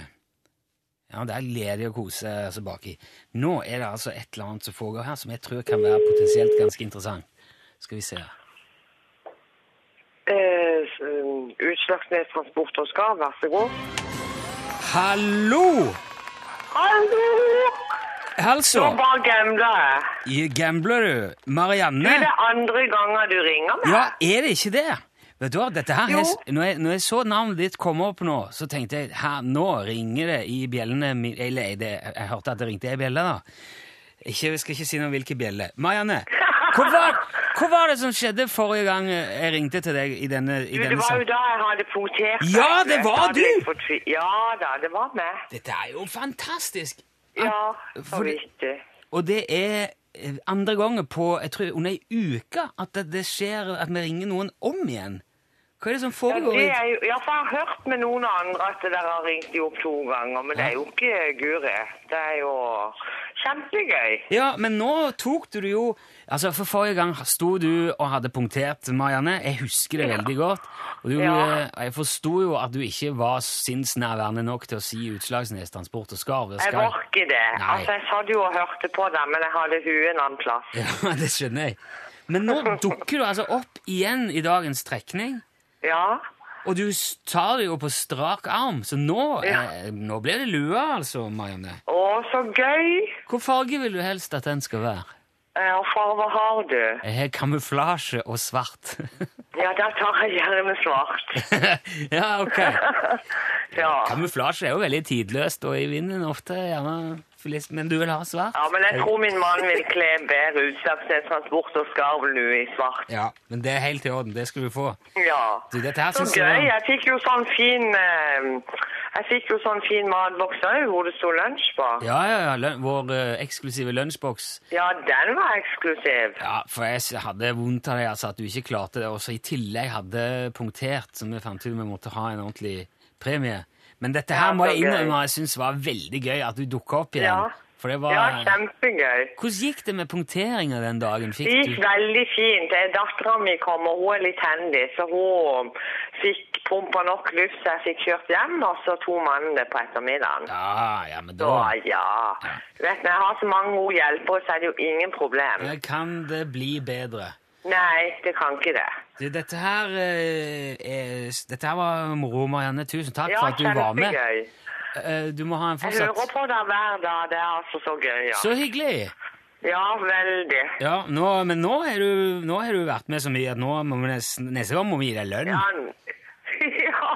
[SPEAKER 2] Ja, der ler de og koser seg baki. Nå er det altså et eller annet som foregår her som jeg tror kan være potensielt ganske interessant. Skal vi se.
[SPEAKER 7] Eh, s- eh, Utslagsnes Transport og Skar, vær så god.
[SPEAKER 2] Hallo!
[SPEAKER 7] Hallo!
[SPEAKER 2] Altså,
[SPEAKER 7] Og bare gambler jeg.
[SPEAKER 2] i- gambler du?
[SPEAKER 7] Du,
[SPEAKER 2] Marianne?
[SPEAKER 7] Det er andre ganger du ringer meg.
[SPEAKER 2] Ja, er det ikke det? Vet du hva, dette her,
[SPEAKER 7] Jo.
[SPEAKER 2] hes- når, jeg, når jeg så navnet ditt komme opp nå, så tenkte jeg her, nå ringer det i bjellene mi- Eller jeg- det, jeg hørte at det ringte ei bjelle, da. Ikke, jeg skal ikke si noe om hvilke bjeller. Marianne, Hva var, hva var det som skjedde forrige gang eh, jeg ringte til deg i denne, i
[SPEAKER 7] Du, det
[SPEAKER 2] denne
[SPEAKER 7] var jo
[SPEAKER 2] saken?
[SPEAKER 7] da jeg hadde punktert
[SPEAKER 2] Ja,
[SPEAKER 7] meg,
[SPEAKER 2] det
[SPEAKER 7] vet
[SPEAKER 2] var
[SPEAKER 7] Da hadde jeg
[SPEAKER 2] du!
[SPEAKER 7] fått fri- Ja da, det var meg.
[SPEAKER 2] Dette er jo fantastisk!
[SPEAKER 7] Ja, så
[SPEAKER 2] Ah, fordi-
[SPEAKER 7] vidt det.
[SPEAKER 2] Og det er eh, andre gangen på jeg tror, under ei uke at det, det skjer at vi ringer noen om igjen. Hva er det som
[SPEAKER 7] Ja,
[SPEAKER 2] foregår?
[SPEAKER 7] det
[SPEAKER 2] i-
[SPEAKER 7] er jo, ja, for jeg har hørt med noen andre at dere har ringt de opp to ganger, men det er jo ikke Guri. Det er jo kjempegøy.
[SPEAKER 2] Ja, men nå tok du det jo Altså, For forrige gang sto du og hadde punktert, Marianne. Jeg husker det veldig godt. Og du,
[SPEAKER 7] Ja.
[SPEAKER 2] eh, jeg forsto jo at du ikke var sinnsnærværende nok til å si Utslagsnes Transport og Skarv. Det
[SPEAKER 7] Jeg
[SPEAKER 2] skal-
[SPEAKER 7] var ikke det.
[SPEAKER 2] Nei.
[SPEAKER 7] Altså, jeg satt jo og hørte på dem, men jeg hadde huet en annen plass.
[SPEAKER 2] [laughs] Ja, det skjønner jeg. Men
[SPEAKER 7] [laughs]
[SPEAKER 2] nå dukker du altså opp igjen i dagens trekning,
[SPEAKER 7] Ja,
[SPEAKER 2] og du s- tar det jo på strak arm, så nå,
[SPEAKER 7] Ja.
[SPEAKER 2] eh, nå blir det lue, altså, Marianne.
[SPEAKER 7] å, så gøy.
[SPEAKER 2] Hvor farge vil du helst at den skal være?
[SPEAKER 7] Eh, Og farver har du?
[SPEAKER 2] Jeg har kamuflasje og svart. [laughs]
[SPEAKER 7] Ja, da tar jeg gjerne svart.
[SPEAKER 2] ja, ok.
[SPEAKER 7] Ja.
[SPEAKER 2] Kamuflasje er jo veldig tidløst, og i vinden ofte gjerne flest, men du vil ha svart?
[SPEAKER 7] Ja, men jeg tror min mann vil kle bedre utsatt til transport og skarv nå i svart.
[SPEAKER 2] Ja, men det er helt i orden, det skal du få.
[SPEAKER 7] Ja.
[SPEAKER 2] Du, dette her
[SPEAKER 7] Så
[SPEAKER 2] synes jeg
[SPEAKER 7] gøy.
[SPEAKER 2] var-
[SPEAKER 7] Jeg fikk jo sånn fin eh, Jeg fikk jo sånn fin matboks òg, hvor det sto lunsj på. Ja.
[SPEAKER 2] Ja, ja, ja, lø- vår eh, eksklusive lunsjboks.
[SPEAKER 7] den var eksklusiv.
[SPEAKER 2] Ja, for jeg s- hadde vondt av det, altså, at du ikke klarte det, og så i tillegg hadde punktert, som vi fant ut vi måtte ha en ordentlig premie. Men dette her
[SPEAKER 7] Ja,
[SPEAKER 2] må
[SPEAKER 7] så
[SPEAKER 2] jeg
[SPEAKER 7] gøy.
[SPEAKER 2] innrømme, jeg synes var veldig gøy at du dukket opp igjen.
[SPEAKER 7] Ja.
[SPEAKER 2] For det
[SPEAKER 7] Ja,
[SPEAKER 2] var...
[SPEAKER 7] kjempegøy.
[SPEAKER 2] Hvordan gikk det med punkteringen den dagen? Fikk
[SPEAKER 7] Det gikk
[SPEAKER 2] du...
[SPEAKER 7] veldig fint. Dattera mi kom, og hun er litt handy, så hun fikk pumpa nok luft så jeg fikk kjørt hjem, og så to mannen det på ettermiddagen.
[SPEAKER 2] Ja, ja, men
[SPEAKER 7] Så
[SPEAKER 2] da...
[SPEAKER 7] ja. Du vet, når jeg har så mange gode hjelpere, så er det jo ingen problem.
[SPEAKER 2] Ja, Kan det bli bedre?
[SPEAKER 7] Nei, det kan ikke det.
[SPEAKER 2] Du, dette her, eh, er, dette her var moro, Marianne. Tusen takk
[SPEAKER 7] Ja,
[SPEAKER 2] for at du var med.
[SPEAKER 7] kjempegøy.
[SPEAKER 2] Eh, Du må ha en
[SPEAKER 7] Jeg hører
[SPEAKER 2] fortsatt.
[SPEAKER 7] på deg hver dag. Det er altså så gøy, ja.
[SPEAKER 2] Så hyggelig!
[SPEAKER 7] Ja, veldig.
[SPEAKER 2] Ja, nå, Men nå har du, nå har du vært med så mye at nå må vi nesten, neste gang må vi gi deg lønn.
[SPEAKER 7] Ja, n- [laughs] ja.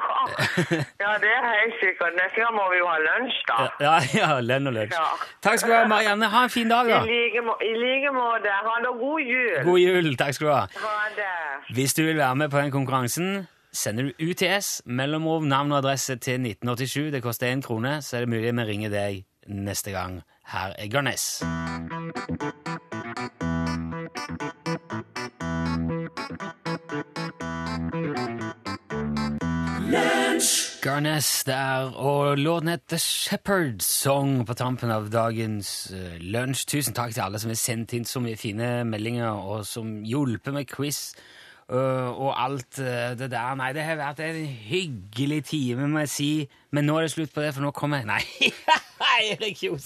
[SPEAKER 7] ja det er helt sikkert. Neste gang må vi jo ha lunsj, da.
[SPEAKER 2] ja, [laughs] ja, lønn og lunsj.
[SPEAKER 7] Ja.
[SPEAKER 2] Takk skal du ha, Marianne. Ha en fin dag,
[SPEAKER 7] I
[SPEAKER 2] da.
[SPEAKER 7] like, må i like måte. Ha det god jul.
[SPEAKER 2] God jul. Takk skal du ha.
[SPEAKER 7] Ha det.
[SPEAKER 2] Hvis du vil være med på den konkurransen, sender du UTS, mellomrom, navn og adresse til 1987. Det koster én krone, så er det mulig vi ringer deg neste gang. Her er Garnes. Garnes der, og låten het The Shepherd Song på tampen av dagens eh, lunsj. Tusen takk til alle som har sendt inn så mye fine meldinger, og som hjulpet med quiz eh, og alt eh, det der. Nei, det har vært en hyggelig time, må jeg si. Men nå er det slutt på det, for nå kommer Nei, [laughs] Erik Kjos!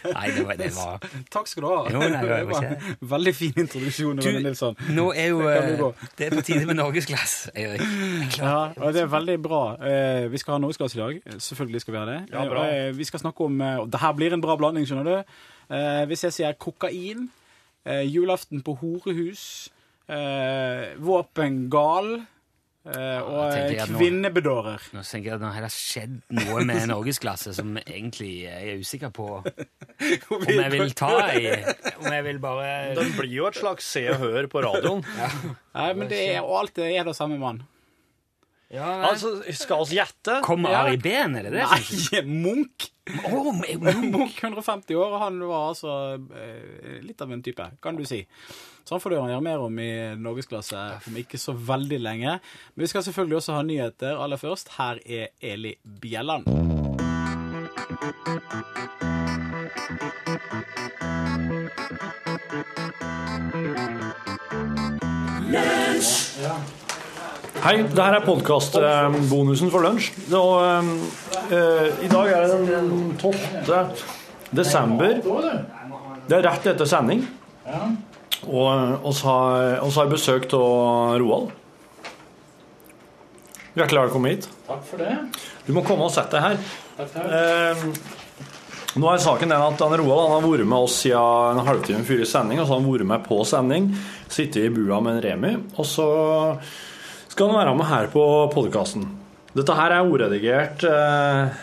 [SPEAKER 2] Nei, det var, det var
[SPEAKER 4] Takk skal du ha.
[SPEAKER 2] Jo, nei, det var
[SPEAKER 4] det var [laughs] en veldig fin introduksjon. Rune Nilsson.
[SPEAKER 2] Nå er jo
[SPEAKER 4] Kan du
[SPEAKER 2] eh,
[SPEAKER 4] gå?
[SPEAKER 2] Det er på tide med norgesglass, Erik. Jeg klarer-
[SPEAKER 4] Ja, og det er veldig bra. Eh, Vi skal ha norgesglass i dag. Selvfølgelig skal vi ha det.
[SPEAKER 3] Ja, bra.
[SPEAKER 4] Eh, og, eh, Vi skal snakke om eh, og Det her blir en bra blanding, skjønner du. Eh, Hvis jeg sier kokain, eh, julaften på horehus, eh, våpengal eh, og
[SPEAKER 2] Ja, tenker jeg
[SPEAKER 4] eh,
[SPEAKER 2] at nå-
[SPEAKER 4] kvinnebedårer.
[SPEAKER 2] Nå tenker jeg at nå har det skjedd noe
[SPEAKER 3] [laughs]
[SPEAKER 2] med norgesklasse som egentlig jeg er usikker på om jeg vil
[SPEAKER 4] [laughs]
[SPEAKER 2] ta i. Om jeg vil bare
[SPEAKER 3] Den blir jo et slags se og hør på radioen.
[SPEAKER 4] Nei, men det er, og alt det er det samme, mann.
[SPEAKER 2] ja, vel.
[SPEAKER 3] Altså, skal oss gjette?
[SPEAKER 2] Kommer Ari Behn, er det det? som-
[SPEAKER 4] [laughs] Nei, Munch!
[SPEAKER 2] Å,
[SPEAKER 3] [laughs]
[SPEAKER 2] men-
[SPEAKER 4] Munch 150 år, og han var altså eh, litt av en type, kan du si. Så han får du gjøre mer om i norgesklasse om ikke så veldig lenge. Men vi skal selvfølgelig også ha nyheter aller først. Her er Eli Bjelland.
[SPEAKER 3] Hei, det her er podkastbonusen for lunsj. Og eh, eh, i dag er det den 12. desember. Det er rett etter sending. Og eh, oss har, oss har besøk av Roald. Hjertelig velkommen hit. Takk for det. Du må komme og sette deg her. Eh, nå er saken den at han Roald han har vært med oss siden en halvtime før i sending. Og så har han vært med på sending. Sittet i bua med en Remi. Og så skal han være med her på podkasten. Dette her er oredigert eh,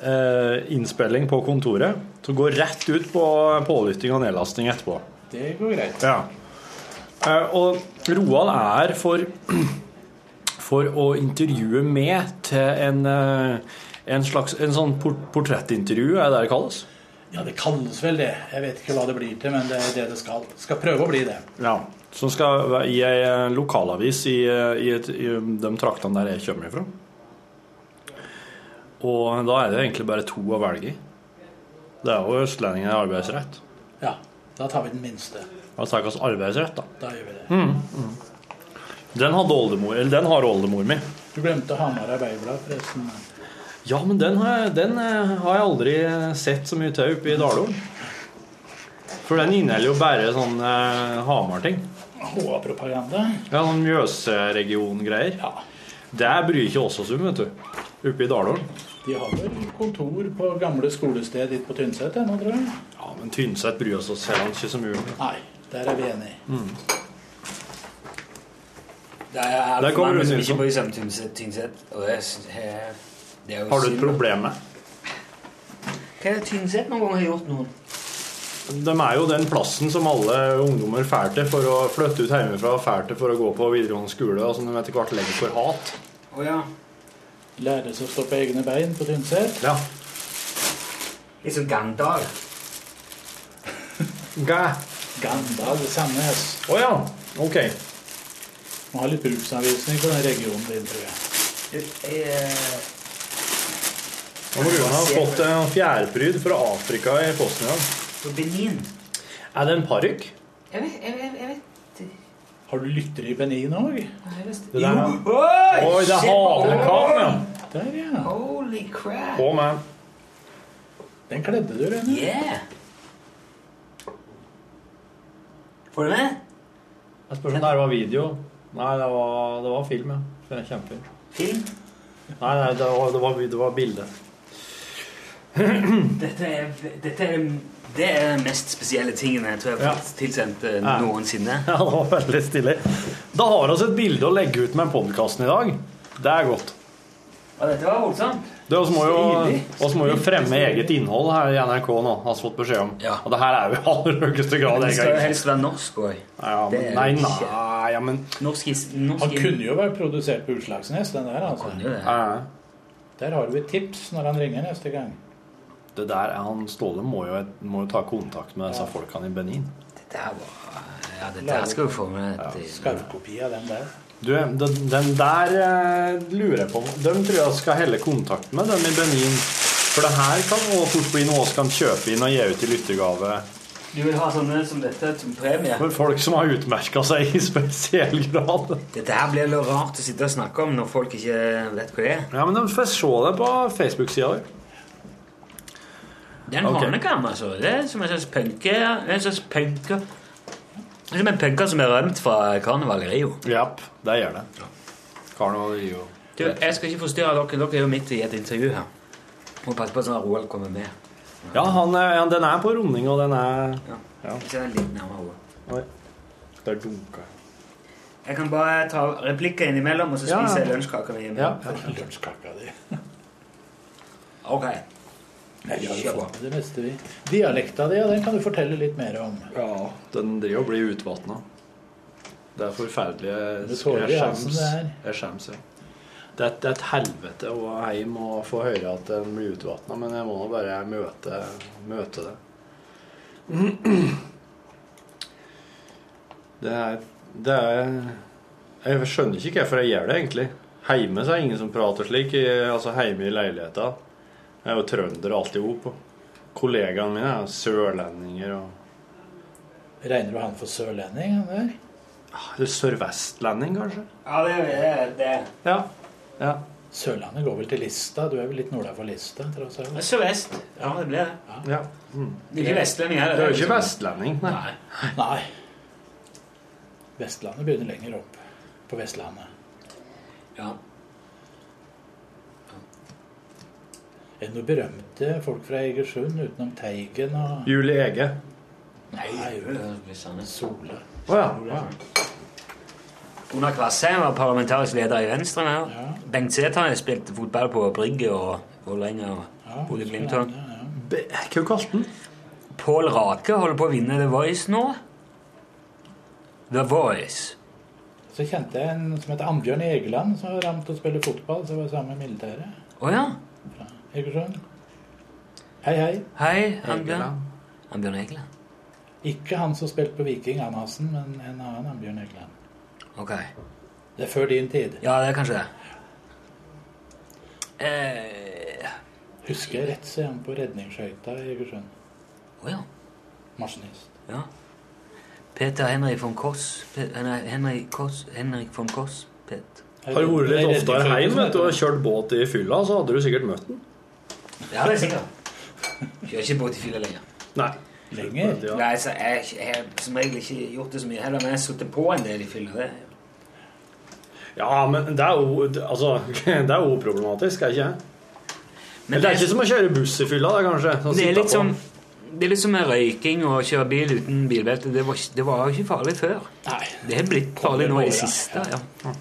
[SPEAKER 3] eh, innspilling på kontoret. Så går rett ut på pålytting og nedlasting etterpå. Det går greit. Ja. Eh, Og Roald er for, for å intervjue med til en, eh, en slags en sånn port portrettintervju, er det det kalles?
[SPEAKER 8] Ja, det kalles vel det. Jeg vet ikke hva det blir til, men det er det det skal. Skal prøve å bli det.
[SPEAKER 3] Ja. Som skal være i ei eh, lokalavis i, eh, i, et, i de traktene der jeg kommer ifra. Og da er det egentlig bare to å velge i. Det er jo østlendingen i arbeidsrett.
[SPEAKER 8] Ja, da tar vi den minste.
[SPEAKER 3] Da tar vi oss arbeidsrett, da.
[SPEAKER 8] Da gjør vi det.
[SPEAKER 3] Den hadde oldemor, eller den har oldemor mi.
[SPEAKER 8] Du glemte Hamar Arbeiderblad, forresten.
[SPEAKER 3] Ja, men den har, jeg, den eh, har jeg aldri sett så mye til oppe i Dalålen. For den inneholder jo bare sånn eh, Hamar-ting.
[SPEAKER 8] HA-propaganda.
[SPEAKER 3] Ja, sånn Mjøsregion-greier.
[SPEAKER 8] Ja.
[SPEAKER 3] Det bryr ikke oss oss om, vet du. Oppe i Dalålen.
[SPEAKER 8] De har vel kontor på gamle skolested ditt på Tynset ennå, tror jeg.
[SPEAKER 3] Ja, men Tynset bryr oss oss heller ikke så mye om.
[SPEAKER 8] Nei, der er vi enige.
[SPEAKER 2] Det er alt
[SPEAKER 3] Der
[SPEAKER 2] for
[SPEAKER 3] kommer
[SPEAKER 2] mange
[SPEAKER 3] du, sånn.
[SPEAKER 2] som
[SPEAKER 3] Nilsson.
[SPEAKER 2] ikke bor i samme Tynset. Tynset, Og det er, s- eh, det er jo
[SPEAKER 3] Har du et
[SPEAKER 2] synd.
[SPEAKER 3] problem med?
[SPEAKER 2] Hva er det Tynset noen gang har gjort noen?
[SPEAKER 3] De er jo den plassen som alle ungdommer drar til for å flytte ut hjemmefra, drar til for å gå på videregående skole, og som de etter hvert legger for hat.
[SPEAKER 2] Å ja.
[SPEAKER 8] Lære seg å stå på egne bein på Tynset.
[SPEAKER 3] Ja.
[SPEAKER 2] Litt sånn Gandal.
[SPEAKER 3] Gæ.
[SPEAKER 8] Gandal i Sandnes.
[SPEAKER 3] Å ja. Ok.
[SPEAKER 8] Må ha litt bruksanvisning for den regionen din, tror jeg.
[SPEAKER 2] Du, jeg, eh,
[SPEAKER 3] Og Rune har fått en fjærpryd fra Afrika i posten i dag.
[SPEAKER 2] På Benin.
[SPEAKER 3] Er det en parykk?
[SPEAKER 2] Jeg vet, jeg vet, jeg vet.
[SPEAKER 8] Har du lyttere i Benin òg?
[SPEAKER 2] Jeg vet.
[SPEAKER 3] Det der-
[SPEAKER 2] Oi,
[SPEAKER 3] Oi, det er
[SPEAKER 2] shit.
[SPEAKER 3] hanekam, ja.
[SPEAKER 8] Der, ja.
[SPEAKER 2] Holy crap.
[SPEAKER 3] Å, man.
[SPEAKER 8] Den kledde du, Rune.
[SPEAKER 2] Yeah. Får du med?
[SPEAKER 3] Jeg spør om det her var video. Nei, det var, det var film, ja. Det er Kjempefilm.
[SPEAKER 2] Film.
[SPEAKER 3] Nei, nei, det var, det var, det var bilde. [laughs]
[SPEAKER 2] Dette er, dette er, det er den mest spesielle tingen jeg tror jeg har fått tilsendt eh,
[SPEAKER 3] Ja.
[SPEAKER 2] noensinne.
[SPEAKER 3] Ja, det var veldig stilig. Da har vi altså et bilde å legge ut med podkasten i dag. Det er godt.
[SPEAKER 2] Og dette var voldsomt.
[SPEAKER 3] Det oss må jo,
[SPEAKER 2] Stilig.
[SPEAKER 3] oss må jo fremme eget innhold her i NRK nå, har vi fått beskjed om.
[SPEAKER 2] Ja.
[SPEAKER 3] Og det her er jo i aller høyeste grad
[SPEAKER 2] Det skal jo
[SPEAKER 3] eget.
[SPEAKER 2] helst være norsk òg.
[SPEAKER 3] Ja,
[SPEAKER 2] Det
[SPEAKER 3] men,
[SPEAKER 2] er
[SPEAKER 3] nei,
[SPEAKER 2] jo ikke-
[SPEAKER 3] nei, ja, men
[SPEAKER 2] Norsk is... Norsk
[SPEAKER 8] Han kunne jo vært produsert på Utslagsnes, den der, altså.
[SPEAKER 2] kunne jo det.
[SPEAKER 3] ja, ja.
[SPEAKER 8] Der har du et tips når han ringer neste gang.
[SPEAKER 3] Det der er han Ståle må jo, må jo ta kontakt med disse folkene i Benin.
[SPEAKER 2] Dette her var Ja, dette her skal jo få med et
[SPEAKER 8] Skarvkopi av den der.
[SPEAKER 3] Du, den, den der eh, lurer jeg på Dem tror jeg skal helle kontakt med, dem i Benin. For det her kan også fort bli noe vi kan kjøpe inn og gi ut i lyttergave
[SPEAKER 2] Du vil ha sånne som dette som premie?
[SPEAKER 3] for folk som har utmerka seg i spesiell grad.
[SPEAKER 2] Dette her blir litt rart å sitte og snakke om når folk ikke vet hva det er.
[SPEAKER 3] Ja, men de får se det på Facebook-sida di.
[SPEAKER 2] Det er en
[SPEAKER 3] Ok.
[SPEAKER 2] hanekam, altså. Det er som en slags punke... En slags punke... Det er Som en punker som er rømt fra karnevalet i Rio.
[SPEAKER 3] Japp, det gjør det. Karneval i Rio.
[SPEAKER 2] Du, jeg skal ikke forstyrre dere. Dere er jo midt i et intervju her. Må passe på sånn at Roald kommer med.
[SPEAKER 3] Ja, han er, ja, den er på runding, og den er
[SPEAKER 2] Ja.
[SPEAKER 3] Ja.
[SPEAKER 2] Ikke den litt nærmere Roald.
[SPEAKER 3] Oi. Der dunka jeg.
[SPEAKER 2] Jeg kan bare ta replikker innimellom, og så
[SPEAKER 3] Ja, ja.
[SPEAKER 2] spiser jeg lunsjkaka mi.
[SPEAKER 3] Ja.
[SPEAKER 8] Lunsjkaka di.
[SPEAKER 2] Ok.
[SPEAKER 8] Jeg har
[SPEAKER 2] Kjør
[SPEAKER 8] jo
[SPEAKER 2] på.
[SPEAKER 8] fått med det meste, vi. Dialekta di, ja, den kan du fortelle litt mer om.
[SPEAKER 3] Ja, den driver og blir utvatna. Det er forferdelige
[SPEAKER 8] Det tåler
[SPEAKER 3] jeg
[SPEAKER 8] i halsen,
[SPEAKER 3] skjems.
[SPEAKER 8] det her.
[SPEAKER 3] Jeg skjems, ja. Det er, det er et helvete å hjem og få høre at den blir utvatna, men jeg må nå bare møte, møte det. Det er, det er Jeg skjønner ikke hvorfor jeg gjør det, egentlig. Heime så er det ingen som prater slik. i- Altså heime i leiligheta. Jeg er jo trønder alt i hop. Kollegaene mine er jo sørlendinger og
[SPEAKER 8] Regner du han for sørlending, han der?
[SPEAKER 3] Eller sørvestlending, kanskje?
[SPEAKER 2] Ja, det er det. er-
[SPEAKER 3] Ja. ja.
[SPEAKER 8] Sørlandet går vel til Lista? Du er vel litt nordafor Lista, tross
[SPEAKER 2] det er
[SPEAKER 8] alt?
[SPEAKER 2] Sørvest. Ja, det blir det.
[SPEAKER 3] ja.
[SPEAKER 2] Det er ikke vestlending heller.
[SPEAKER 3] Du er jo ikke vestlending. Nei.
[SPEAKER 2] Nei.
[SPEAKER 8] Nei. Vestlandet begynner lenger opp. På Vestlandet.
[SPEAKER 2] Ja.
[SPEAKER 8] Er det noen berømte folk fra Egersund utenom Teigen og
[SPEAKER 3] Julie Ege.
[SPEAKER 2] Nei, det blir sånn.
[SPEAKER 8] Sola?
[SPEAKER 3] Å ja.
[SPEAKER 2] Gunnar Kvassheim var parlamentarisk leder i Venstre. nå. Bengt Sæther spilte fotball på Brygge og Vålerenga og bodde i Blindtårn.
[SPEAKER 3] Be- Hva kalte han den?
[SPEAKER 2] Pål Rake holder på å vinne The Voice nå. The Voice.
[SPEAKER 8] Så kjente jeg en som heter Ambjørn Egeland, som var rammet til å spille fotball. Så var jeg sammen med militæret.
[SPEAKER 2] Å ja.
[SPEAKER 8] Egersund. Hei, hei.
[SPEAKER 2] Hei, Ambjørn. Ambjørn Egeland.
[SPEAKER 8] Ikke han som spilte på Viking, han Hassen, men en annen Ambjørn Egeland.
[SPEAKER 2] Ok.
[SPEAKER 8] Det er før din tid.
[SPEAKER 2] Ja, det er kanskje det. Eh,
[SPEAKER 8] Husker jeg rett, så er han på redningsskøyta i Egersund.
[SPEAKER 2] Å ja.
[SPEAKER 8] Maskinist.
[SPEAKER 2] ja. Peter Henry von Koss. Pe nei, Henry Koss. Henrik von Koss. Pet.
[SPEAKER 3] Har du vært litt oftere hjemme vet du, og kjørt båt i fylla, så hadde du sikkert møtt den.
[SPEAKER 2] Ja, det er sikkert. Kjører ikke båt i fylla lenger.
[SPEAKER 3] Nei.
[SPEAKER 8] Lenger?
[SPEAKER 3] Ja.
[SPEAKER 2] Nei, altså, jeg, jeg har som regel ikke gjort det så mye heller, men jeg har sittet på en del i fylla. det.
[SPEAKER 3] ja, men det er jo altså, [laughs] det er jo problematisk, er det ikke?
[SPEAKER 2] Men
[SPEAKER 3] det er ikke som å kjøre buss i fylla, det, kanskje. Sånn
[SPEAKER 2] Det er
[SPEAKER 3] sitte
[SPEAKER 2] litt
[SPEAKER 3] på.
[SPEAKER 2] som det er litt som med røyking og å kjøre bil uten bilbelte. Det var, ikke- det var jo ikke farlig før.
[SPEAKER 8] Nei.
[SPEAKER 2] Det har blitt farlig nå i det siste. ja.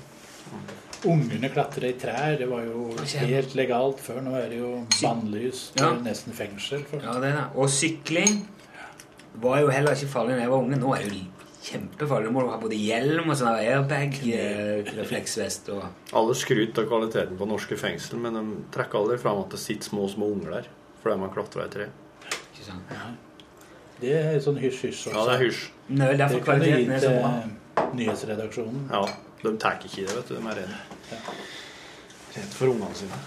[SPEAKER 8] Ungene klatra i trær. Det var jo helt legalt før. Nå er det jo bannlyst
[SPEAKER 2] Ja.
[SPEAKER 8] og nesten fengsel. For.
[SPEAKER 2] Ja, det er det. Og sykling var jo heller ikke farlig da jeg var unge. Nå er det jo kjempefarlig. Nå må du ha både hjelm og sånn airbag, eh, refleksvest og
[SPEAKER 3] Alle skryter av kvaliteten på norske fengsel, men de trekker aldri fram at det sitter små, små unger der fordi de har klatra i tre.
[SPEAKER 2] ikke sant.
[SPEAKER 8] Det er sånn hysj-hysj
[SPEAKER 3] Ja,
[SPEAKER 8] også.
[SPEAKER 3] det er hysj.
[SPEAKER 2] Nå er det derfor
[SPEAKER 8] det kan du gi
[SPEAKER 2] kvaliteten er så bra.
[SPEAKER 8] til nyhetsredaksjonen.
[SPEAKER 3] Ja, de tar ikke i det, vet du. De er redde. Redd for ungene sine.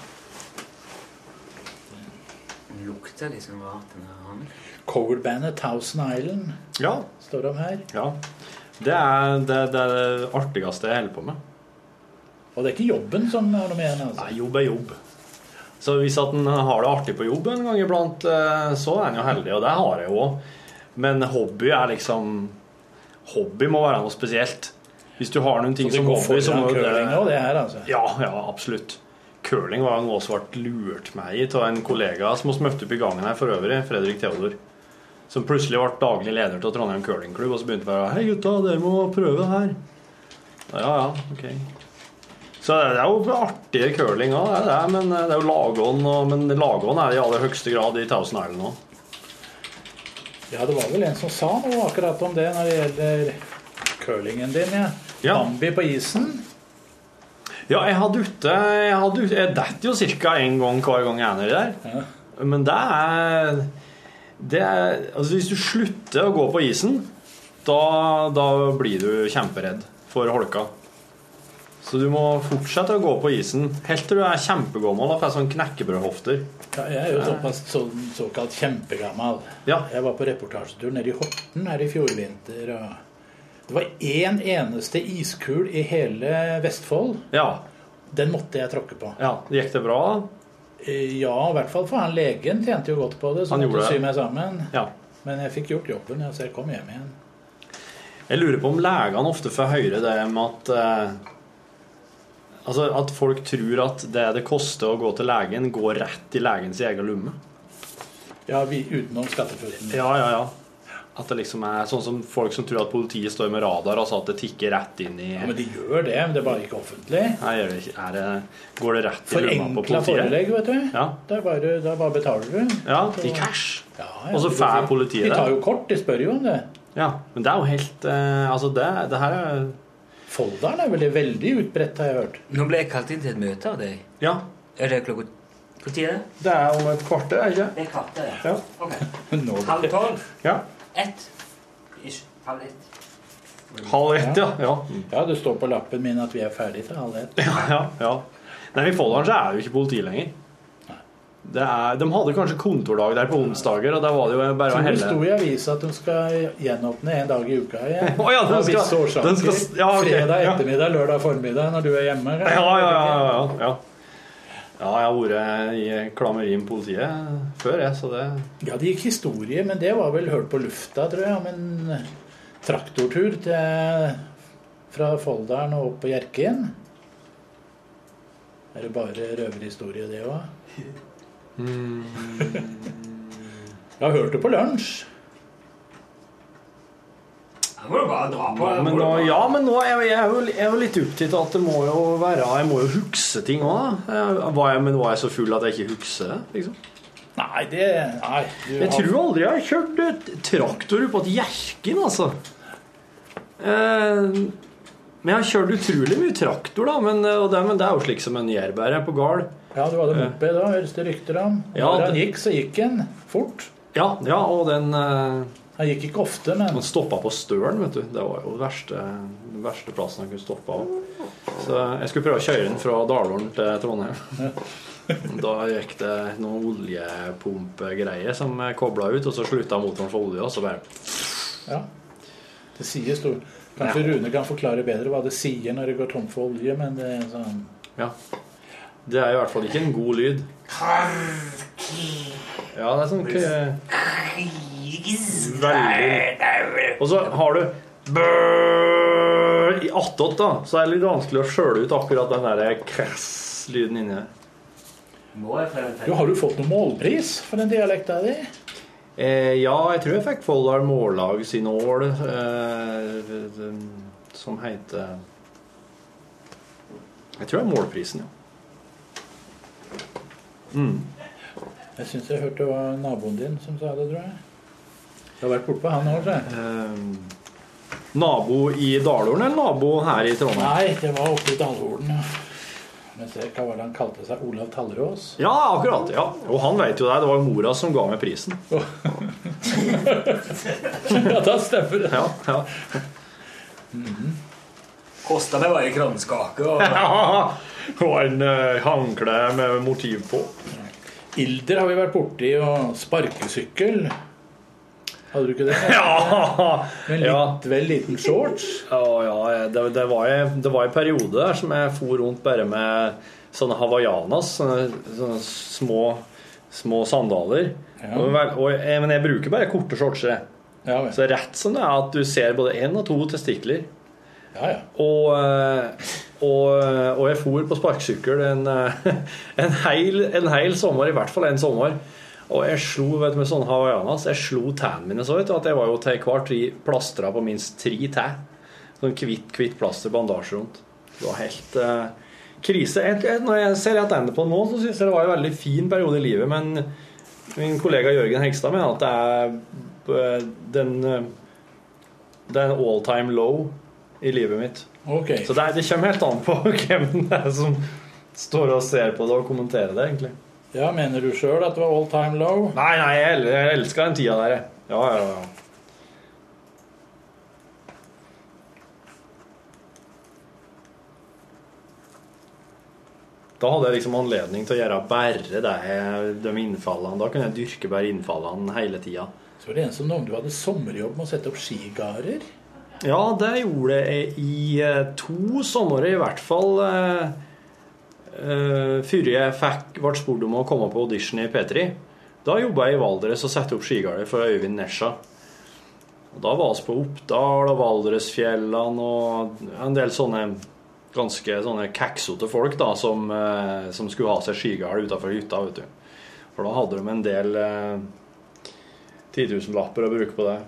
[SPEAKER 2] Den lukter liksom rart, den der hanen.
[SPEAKER 8] Coverbandet Thousand Island
[SPEAKER 3] Ja.
[SPEAKER 8] står de her.
[SPEAKER 3] ja. Det er det, det, er det artigste jeg holder på med.
[SPEAKER 8] Og det er ikke jobben som har noe med den, altså.
[SPEAKER 3] Nei, jobb er jobb. Så hvis at en har det artig på jobb en gang iblant, eh, så er en jo heldig, og det har jeg jo òg. Men hobby er liksom Hobby må være noe spesielt. Hvis du har noen ting
[SPEAKER 8] Det
[SPEAKER 3] som
[SPEAKER 8] går
[SPEAKER 3] hobby, så
[SPEAKER 8] foran
[SPEAKER 3] må jo
[SPEAKER 8] curling nå,
[SPEAKER 3] det
[SPEAKER 8] det her, altså.
[SPEAKER 3] Ja, ja, absolutt. Curling var noe som ble lurt meg i av en kollega som vi møtte opp i gangen her for øvrig, Fredrik Theodor. Som plutselig ble daglig leder til Trondheim curlingklubb, og så begynte han bare Hei, gutta, dere må prøve det her. Ja, ja, ok. Så det er jo artigere curling òg, det er det, men eh, det er jo lagånd. og- Men lagånd er i aller høyeste grad i Thousand Island òg.
[SPEAKER 8] Ja, det var vel en som sa noe akkurat om det når det gjelder curlingen din, ja.
[SPEAKER 3] Ja.
[SPEAKER 8] Bambi på isen.
[SPEAKER 3] Ja, jeg hadde ute Jeg, hadde ute, jeg detter jo ca. én gang hver gang jeg er nedi der. Men det er, det er Altså, hvis du slutter å gå på isen, da, da blir du kjemperedd for holka. Så du må fortsette å gå på isen helt til du er kjempegammel og får sånn knekkebrødhofter.
[SPEAKER 8] Ja, jeg er jo såpass så, såkalt kjempegammal.
[SPEAKER 3] Ja.
[SPEAKER 8] Jeg var på reportasjetur nede i Horten her i fjor vinter. Og det var én eneste iskul i hele Vestfold.
[SPEAKER 3] Ja.
[SPEAKER 8] Den måtte jeg tråkke på.
[SPEAKER 3] ja. Gikk det bra?
[SPEAKER 8] Eh, Ja, i hvert fall for han legen tjente jo godt på det, så
[SPEAKER 3] Han
[SPEAKER 8] han
[SPEAKER 3] gjorde
[SPEAKER 8] måtte
[SPEAKER 3] det.
[SPEAKER 8] sy meg sammen.
[SPEAKER 3] Ja.
[SPEAKER 8] Men jeg fikk gjort jobben, ja, så jeg kom hjem igjen.
[SPEAKER 3] Jeg lurer på om legene ofte får høre det med at eh, Altså at folk tror at det det koster å gå til legen, går rett i legens egen lomme.
[SPEAKER 8] Ja, vi, utenom skattefutten.
[SPEAKER 3] Ja, ja, ja. At det liksom er sånn som folk som tror at politiet står med radar, altså at det tikker rett inn i
[SPEAKER 8] Ja, men de gjør det, men det er bare ikke offentlig.
[SPEAKER 3] Nei, gjør det ikke. Er det, går det rett i lomma på
[SPEAKER 8] Forenkla
[SPEAKER 3] politiet?
[SPEAKER 8] forelegg, vet du.
[SPEAKER 3] Ja.
[SPEAKER 8] Da bare, da bare betaler du.
[SPEAKER 3] Ja, i cash.
[SPEAKER 8] Ja,
[SPEAKER 3] Og så
[SPEAKER 8] det går
[SPEAKER 3] får
[SPEAKER 8] fint.
[SPEAKER 3] politiet
[SPEAKER 8] De
[SPEAKER 3] det.
[SPEAKER 8] tar jo kort, de spør jo om det.
[SPEAKER 3] Ja, men det er jo helt eh, Altså, det, det her er
[SPEAKER 8] Folldalen er vel veldig utbredt, har jeg hørt.
[SPEAKER 2] Nå ble jeg kalt inn til et møte av deg.
[SPEAKER 3] Ja.
[SPEAKER 2] Er det klokka Når er det?
[SPEAKER 3] Det er om et kvarter, er det ikke?
[SPEAKER 2] Det er kvarter, ja.
[SPEAKER 3] Ja.
[SPEAKER 2] [laughs] Ok.
[SPEAKER 8] Nå
[SPEAKER 2] Halv tolv?
[SPEAKER 3] ja.
[SPEAKER 2] Ett? Ish. Halv ett.
[SPEAKER 3] Halv ett, ja. ja.
[SPEAKER 8] Ja, det står på lappen min at vi er ferdig til halv ett.
[SPEAKER 3] Ja, [laughs] ja, ja. Nei, I Folldalen så er det jo ikke politi lenger. Det er, de hadde kanskje kontordag der på onsdager, og der var det jo bare å
[SPEAKER 8] Det
[SPEAKER 3] helle
[SPEAKER 8] sto i avisa at de skal gjenåpne en dag i uka igjen.
[SPEAKER 3] Å ja, de
[SPEAKER 8] Av
[SPEAKER 3] skal-
[SPEAKER 8] visse årsaker.
[SPEAKER 3] de skal- ja, ok,
[SPEAKER 8] Fredag
[SPEAKER 3] ja.
[SPEAKER 8] ettermiddag, lørdag formiddag når du er hjemme.
[SPEAKER 3] Ja, ja, ja. ja, ja. ja jeg har vært i klammeri med politiet før, jeg, så det
[SPEAKER 8] Ja, det gikk historie, men det var vel hørt på lufta, tror jeg, om en eh, traktortur til, fra Folldalen og opp på Hjerkinn. Er det bare røverhistorie, det òg? Mm. [laughs] Jeg har hørt det på lunsj.
[SPEAKER 2] Da må du bare dra på.
[SPEAKER 3] Men nå, ja, men nå er jeg, jeg, er jo, jeg er jo litt opptatt av at det må jo være Jeg må jo huske ting òg. Men var jeg så full at jeg ikke husker det? liksom?
[SPEAKER 8] Nei, det Nei. Du
[SPEAKER 3] Jeg
[SPEAKER 8] har-
[SPEAKER 3] tror aldri jeg har kjørt et traktor oppå et jerkin, altså. Eh, men jeg har kjørt utrolig mye traktor, da. Men, og det, men det er jo slik som en gjærbærer på gard.
[SPEAKER 8] Ja, du hadde moped da, høres det rykter om.
[SPEAKER 3] Ja,
[SPEAKER 8] Når han
[SPEAKER 3] det-
[SPEAKER 8] gikk, så gikk han fort.
[SPEAKER 3] Ja, ja, og den eh,
[SPEAKER 8] Han gikk ikke ofte, men
[SPEAKER 3] Man stoppa på Stølen, vet du. Det var jo den verste, den verste plassen jeg kunne stoppa. Så jeg skulle prøve å kjøre den fra Dalålen til Trondheim. Da gikk det noen oljepumpegreier som kobla ut, og så slutta motoren for olje, og så bare
[SPEAKER 8] ja. Det sier stor... Kanskje Rune kan forklare bedre hva det sier når det går tom for olje, men det er sånn
[SPEAKER 3] Ja. Det er i hvert fall ikke en god lyd. Ja, det er sånn k- Veldig Og så har du brrr i attåt, da, så er det litt vanskelig å skjøle ut akkurat den der krass-lyden inni der.
[SPEAKER 9] Må jeg følge
[SPEAKER 8] Du, har du fått noen målpris for den dialekta di?
[SPEAKER 3] Eh, ja, jeg tror jeg fikk Folldal Mållag sin ål, eh, den- som heter Jeg tror det er målprisen, ja.
[SPEAKER 8] Jeg syns jeg hørte det var naboen din som sa det, tror jeg. Det har vært bortpå han òg, tror jeg.
[SPEAKER 3] Eh, nabo i Dalålen eller nabo her i Trondheim?
[SPEAKER 8] Nei, det var oppe i Dalhorden, ja. Men se hva var det han kalte seg? Olav Tallerås? [laughs]
[SPEAKER 3] Ja, akkurat. ja. Og han vet jo det. Det var jo mora som ga meg prisen.
[SPEAKER 8] Ja, da stemmer det.
[SPEAKER 3] Ja, ja.
[SPEAKER 9] Kosta meg bare en kranskake. Og...
[SPEAKER 3] Og en eh, håndkle med motiv på.
[SPEAKER 8] Ilder har vi vært borti, og sparkesykkel. Hadde du ikke det?
[SPEAKER 3] Ja!
[SPEAKER 8] Med litt,
[SPEAKER 3] ja.
[SPEAKER 8] vel liten shorts.
[SPEAKER 3] [laughs] Ja, ja det, det, var, en- det var en periode der som jeg for rundt bare med sånne hawaiianas, sånne, sånne små, små sandaler.
[SPEAKER 8] Ja.
[SPEAKER 3] Og, vel- og, jeg- men jeg bruker bare korte shorts. jeg.
[SPEAKER 8] Ja, vel.
[SPEAKER 3] Så rett som det er at du ser både én og to testikler.
[SPEAKER 8] ja, ja.
[SPEAKER 3] Og, eh, og, og jeg for på sparkesykkel en, eh, [laughs] en, heil, en heil sommer, i hvert fall en sommer. Og jeg slo vet du, med sånne hawaiianas Jeg slo tærne mine så ut at jeg var jo til hver tre plastra på minst tre tær. Sånn hvitt hvitt plaster bandasje rundt. Det var helt eh, krise. Jeg, jeg, når jeg ser tilbake på det nå, så syns jeg det var en veldig fin periode i livet. Men min kollega Jørgen Hegstad mener at det er eh, den eh, Det er en all time low i livet mitt.
[SPEAKER 8] Ok.
[SPEAKER 3] Så det, er- det kommer helt an på [laughs] hvem det er som står og ser på det og kommenterer det, egentlig.
[SPEAKER 8] Ja, Mener du sjøl at det var all time low?
[SPEAKER 3] Nei, nei, jeg, el- jeg elsker den tida der, jeg. Ja, ja, ja. Da hadde jeg liksom anledning til å gjøre bare det, jeg- de innfallene. Da kunne jeg dyrke bare innfallene hele tida.
[SPEAKER 8] Så var det en som nevnte du hadde sommerjobb med å sette opp skigarder.
[SPEAKER 3] Ja, det gjorde jeg i eh, to somre i hvert fall. eh, eh, Før jeg fikk, ble spurt om å komme på audition i P3. Da jobba jeg i Valdres og satte opp skigarder for Øyvind Nesja. Og da var vi på Oppdal og Valdresfjellene og en del sånne ganske sånne kaksete folk da, som, eh, som skulle ha seg skigard utafor hytta, vet du. For da hadde de en del eh, 10 000-lapper å bruke på det.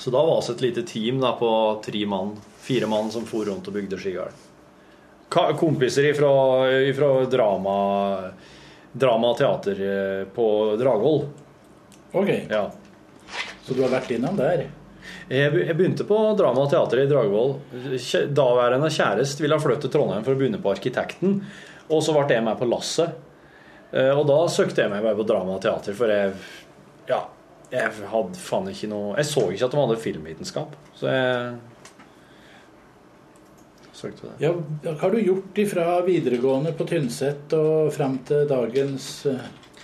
[SPEAKER 3] Så da var vi et lite team da, på tre mann, fire mann som for rundt og bygde Skigard. Ka- Kompiser ifra, ifra drama, drama og teater eh, på Dragvoll.
[SPEAKER 8] Ok,
[SPEAKER 3] Ja.
[SPEAKER 8] Så du har vært innom der?
[SPEAKER 3] Jeg be- jeg begynte på drama og teater i Dragvoll. Kje- Daværende kjæreste ville flytte til Trondheim for å begynne på Arkitekten, og så ble jeg med på lasset. Eh, Og da søkte jeg meg bare på drama og teater, for jeg Ja, jeg hadde faen ikke noe Jeg så ikke at de hadde filmvitenskap, så jeg søkte det.
[SPEAKER 8] Ja, Hva har du gjort ifra videregående på Tynset og fram til dagens eh,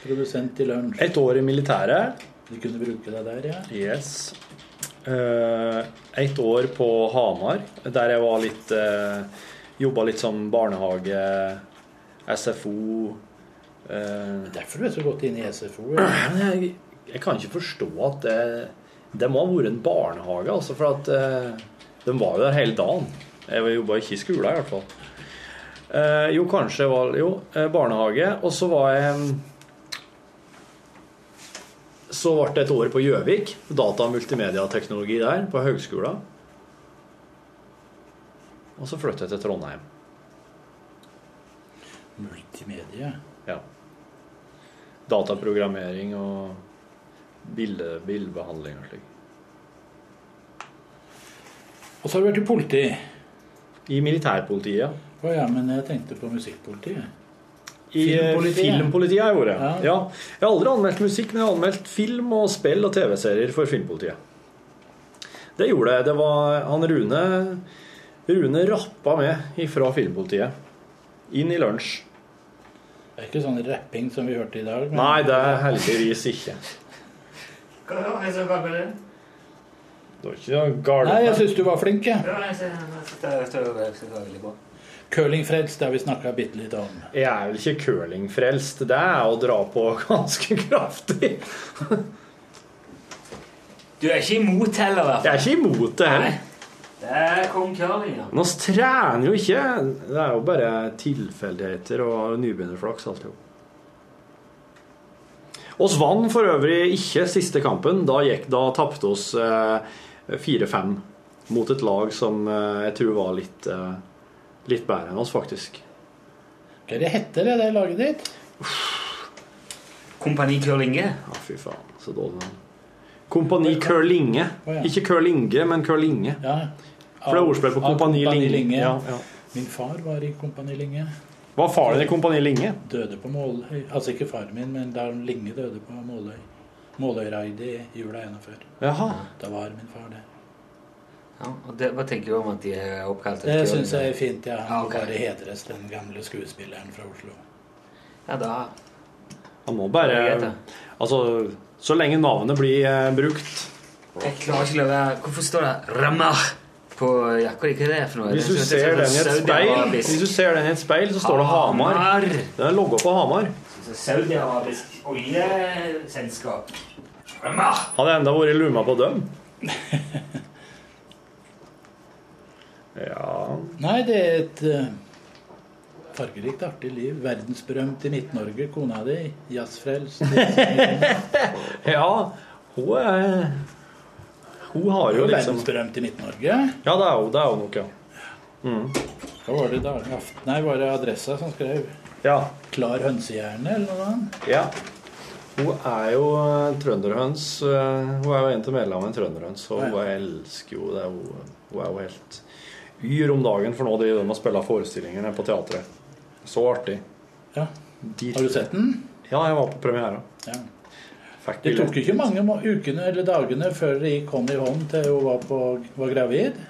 [SPEAKER 8] produsent i lunsj?
[SPEAKER 3] Et år i militæret.
[SPEAKER 8] De kunne bruke deg der, ja.
[SPEAKER 3] Yes. Eh, Ett år på Hamar, der jeg var litt uh, Jobba litt som barnehage, SFO eh,
[SPEAKER 8] Derfor du er så godt inne i SFO. ja.
[SPEAKER 3] men jeg, jeg kan ikke forstå at det, det må ha vært en barnehage, altså, for at eh, de var jo der hele dagen. Jeg jobba ikke i skolen, i hvert fall. Eh, jo, kanskje jeg var Jo, eh, barnehage. Og så var jeg Så ble det et år på Gjøvik. Data- og multimediateknologi der, på høgskolen. Og så flyttet jeg til Trondheim.
[SPEAKER 8] Multimedia.
[SPEAKER 3] Ja. Dataprogrammering og bilde, bildebehandling og slik.
[SPEAKER 8] Og så har du vært i politi.
[SPEAKER 3] I militærpolitiet, ja.
[SPEAKER 8] Å ja, men jeg tenkte på musikkpolitiet.
[SPEAKER 3] I eh,
[SPEAKER 8] Filmpolitiet.
[SPEAKER 3] filmpolitiet har jeg vært.
[SPEAKER 8] Ja.
[SPEAKER 3] Ja. Jeg har aldri anmeldt musikk, men jeg har anmeldt film og spill og TV-serier for Filmpolitiet. Det gjorde jeg. Det var han Rune Rune rappa med fra Filmpolitiet. Inn i lunsj.
[SPEAKER 8] Det er ikke sånn rapping som vi hørte i dag. men-
[SPEAKER 3] Nei, det er heldigvis ikke.
[SPEAKER 2] Hva da? Jeg skal bare det.
[SPEAKER 3] Det var ikke noe galt.
[SPEAKER 8] Nei, jeg syns du var flink, jeg.
[SPEAKER 2] Ja, jeg ser- jeg synes det- jeg tror det synes det var veldig bra.
[SPEAKER 8] Curlingfrelst, det har vi snakka bitte litt om.
[SPEAKER 3] Jeg er vel ikke curlingfrelst. Det er å dra på [laughs] ganske kraftig.
[SPEAKER 2] Du er ikke imot heller, i hvert
[SPEAKER 3] Jeg er ikke imot det heller.
[SPEAKER 2] fall. Det er kong curling, ja.
[SPEAKER 3] Men oss trener jo ikke. Det er jo bare tilfeldigheter og nybegynnerflaks alt i hop. Oss vant for øvrig ikke siste kampen. Da, gikk- da tapte oss eh, 4-5 mot et lag som eh, jeg tror var litt, eh, litt bedre enn oss, faktisk.
[SPEAKER 8] Hva er det heter det, det laget ditt?
[SPEAKER 2] Kompani Curlinge.
[SPEAKER 3] Ja, fy faen, så dårlig navn. Kompani Curlinge. Ikke Curlinge, men Curlinge.
[SPEAKER 8] Ja.
[SPEAKER 3] For det er ordspill på
[SPEAKER 8] Av
[SPEAKER 3] Kompani Linge. Ja, ja.
[SPEAKER 8] Min far var i Kompani Linge.
[SPEAKER 3] Var faren din i Kompani Linge?
[SPEAKER 8] Døde på Måløy. Altså ikke faren min, men da Linge døde på Måløy. Måløyraidet i jula gjennomfør.
[SPEAKER 3] Jaha.
[SPEAKER 8] Da var min far det.
[SPEAKER 2] Ja, og det, hva tenker du om at de er oppkalt etter
[SPEAKER 8] Det syns
[SPEAKER 2] curling?
[SPEAKER 8] jeg er fint. Ja. Han
[SPEAKER 2] Ja,
[SPEAKER 8] må
[SPEAKER 2] ok.
[SPEAKER 8] bare hedres, den gamle skuespilleren fra Oslo.
[SPEAKER 2] Ja, da
[SPEAKER 3] Han må
[SPEAKER 2] Det er greit,
[SPEAKER 3] bare
[SPEAKER 2] det.
[SPEAKER 3] Altså, så lenge navnet blir eh, brukt
[SPEAKER 2] Jeg klarer ikke å la være Hvorfor står det 'Ramah' på jakka di? Hva er det for noe?
[SPEAKER 3] Hvis du
[SPEAKER 2] Det ser
[SPEAKER 3] ser
[SPEAKER 2] ut
[SPEAKER 3] den i
[SPEAKER 2] som
[SPEAKER 3] et
[SPEAKER 2] sånn
[SPEAKER 3] speil,
[SPEAKER 2] saudiarabisk- Ah,
[SPEAKER 3] hvis du ser den i et speil, så står det Hamar. Det er logga på Hamar.
[SPEAKER 2] Så Saudi-arabisk oljeselskap. Ramah!
[SPEAKER 3] Hadde jeg enda vært luma på dem.
[SPEAKER 2] [laughs]
[SPEAKER 3] Ja
[SPEAKER 8] Nei, det er et eh, fargerikt, artig liv. Verdensberømt i Midt-Norge. Kona di,
[SPEAKER 3] [laughs]
[SPEAKER 8] jazzfrelst.
[SPEAKER 3] Ja, hun er Hun har jo liksom
[SPEAKER 8] Verdensberømt i Midt-Norge.
[SPEAKER 3] Ja, det er hun, det er hun nok, ja.
[SPEAKER 8] Hva var det dagen aften? Nei, var det Adressa som skrev?
[SPEAKER 3] Ja.
[SPEAKER 8] Klar hønsehjerne, eller noe annet?
[SPEAKER 3] ja. Hun er jo eh, trønderhøns. eh, Hun er jo en til medlemmene i Trønderhøns, og hun elsker jo det. er Hun, hun er jo helt yr om dagen, for nå driver de og spiller forestillinger her på teatret. Så artig.
[SPEAKER 8] Ja.
[SPEAKER 3] Dit-
[SPEAKER 8] Har du sett den?
[SPEAKER 3] Ja, jeg var på premiera.
[SPEAKER 8] Ja.
[SPEAKER 3] Fikk
[SPEAKER 8] Det tok
[SPEAKER 3] billett.
[SPEAKER 8] ikke mange må- ukene eller dagene før det gikk hånd i hånd til hun var, på, var gravid.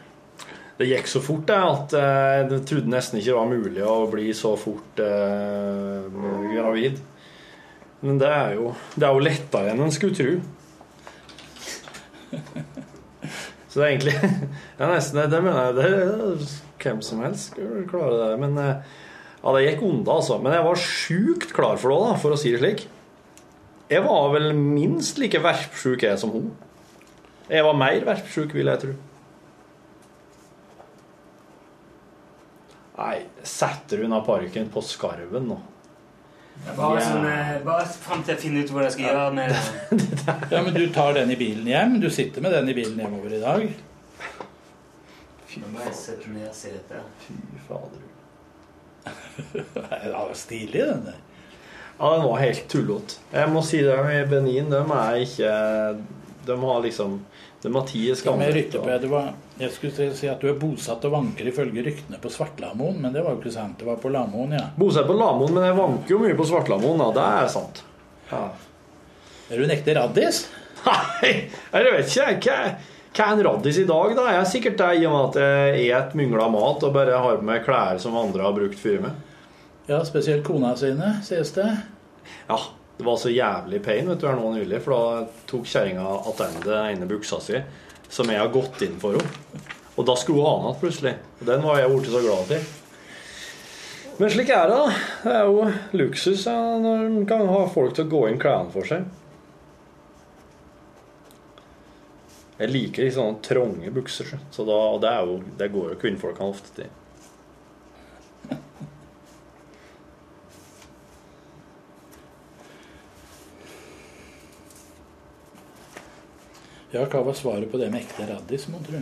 [SPEAKER 3] Det gikk så fort det, at eh, jeg trodde nesten ikke det var mulig å bli så fort eh, gravid. Men det er jo, det er jo lettere enn en skulle tro. Så det er egentlig [laughs] det er nesten det, mener jeg det er, Hvem som helst skulle klare det. Men eh, ja, det gikk unna, altså. Men jeg var sjukt klar for det òg, for å si det slik. Jeg var vel minst like verpsjuk jeg som hun. Jeg var mer verpsjuk, vil jeg tro. Nei, setter hun av parken på skarven nå?
[SPEAKER 2] Bare, sånn, eh, bare fram til jeg finner ut hva jeg skal gjøre med
[SPEAKER 8] Ja, men du tar den i bilen hjem. Du sitter med den i bilen hjemover i dag.
[SPEAKER 2] Nå må jeg sette ned setet.
[SPEAKER 3] Fy fader.
[SPEAKER 8] Nei, det var stilig, den der.
[SPEAKER 3] Ja, den var helt tullete. Jeg må si det i Benin, de er ikke De har liksom De har ti
[SPEAKER 8] Skal vi
[SPEAKER 3] skammer.
[SPEAKER 8] rytte på, ja, du var, jeg skulle til å si at du er bosatt og vanker ifølge ryktene på Svartlamoen, men det var jo ikke sant. Det var på Lamoen, ja.
[SPEAKER 3] Bosatt på Lamoen, men jeg vanker jo mye på Svartlamoen, da. Det er sant. Ja.
[SPEAKER 8] Er du en ekte raddis?
[SPEAKER 3] Nei, jeg vet ikke. jeg. Hva, hva er en raddis i dag, da? Jeg er sikkert det, i og med at jeg et myngla mat og bare har på meg klær som andre har brukt før meg.
[SPEAKER 8] Ja, spesielt kona sine, sies det.
[SPEAKER 3] Ja, det var så jævlig pain vet du, her nå nylig, for da tok kjerringa attende den ene buksa si, som jeg har gått inn for henne. Og da skulle hun ha den igjen plutselig. Og den var jeg blitt så glad til. Men slik er det, da. Det er jo luksus ja, når en kan ha folk til å gå inn klærne for seg. Jeg liker litt sånne trange bukser, så- så da, og det, er jo, det går jo kvinnfolkene ofte til.
[SPEAKER 8] Ja, hva var svaret på det med ekte raddis, mon tru?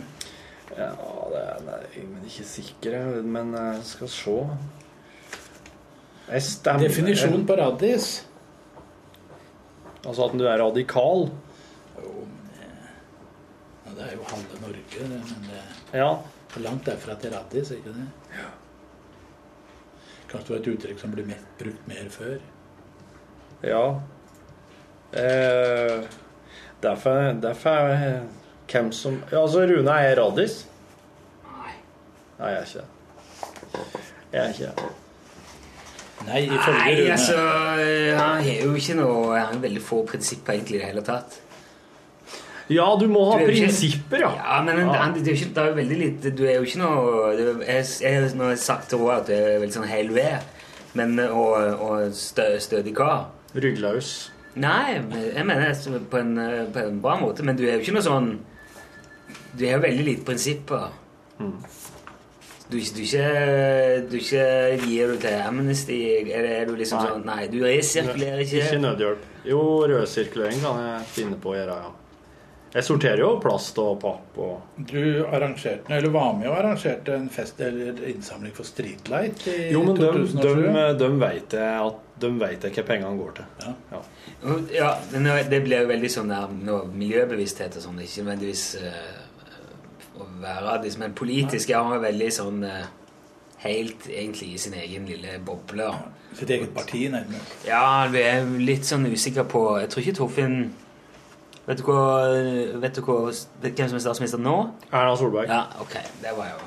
[SPEAKER 3] Ja, det er nei, men ikke sikker, jeg, men eh, jeg skal se. Jeg stemmer.
[SPEAKER 8] Definisjonen på raddis?
[SPEAKER 3] Altså at du er radikal.
[SPEAKER 8] eh, Ja, det er er jo halve Norge, det, men det
[SPEAKER 3] Ja.
[SPEAKER 8] er langt derfra til Raddis, er ikke det? Kanskje det var et uttrykk som ble mer- brukt mer før.
[SPEAKER 3] Ja. Eh, derfor, derfor er eh, hvem som ja, Altså, Rune, er jeg raddis? Nei, jeg er ikke det. Jeg er ikke det.
[SPEAKER 8] Nei,
[SPEAKER 2] Nei, altså, han har jo ikke noe Han har veldig få prinsipper egentlig i det hele tatt.
[SPEAKER 3] Ja, du må ha
[SPEAKER 2] Du er jo ikke-
[SPEAKER 3] prinsipper, ja.
[SPEAKER 2] Ja, men han, han, det, er jo ikke, det er jo veldig lite Du er jo ikke noe det, er- jeg, jeg, Nå har jeg sagt til Roar at du er veldig sånn helved men, og, og stø, stødig kar.
[SPEAKER 3] Rygglaus.
[SPEAKER 2] Nei, men jeg mener det på en, eh, på en bra måte, men du er jo ikke noe sånn Du er jo veldig lite prinsipper. Mm. Du, er ikke- du, er ikke, du er ikke gir du til Amnesty? Eller er du liksom
[SPEAKER 3] Nei.
[SPEAKER 2] sånn Nei, du resirkulerer ikke.
[SPEAKER 3] Ikke nødhjelp. Jo, rødsirkulering kan jeg finne på å gjøre, ja. Jeg sorterer jo plast og papp og
[SPEAKER 8] Du arrangerte, eller var med og arrangerte en fest eller innsamling for Streetlight i
[SPEAKER 3] Jo, men eh, de, de,
[SPEAKER 8] 2007.
[SPEAKER 3] de vet jeg at de vet jeg hva pengene går til. Ja.
[SPEAKER 2] Ja, men nå- det blir jo veldig sånn der nå, miljøbevissthet og sånn. Ikke nødvendigvis eh, å være radis, men politisk er han veldig sånn eh, helt egentlig i sin egen lille boble.
[SPEAKER 8] Sitt eget parti, nærmest.
[SPEAKER 2] Ja, vi er litt sånn usikker på Jeg tror ikke Torfinn Vet du, hva, vet du hva, vet hvem som er statsminister nå?
[SPEAKER 3] Erna Solberg.
[SPEAKER 2] Ja, ok, det var jo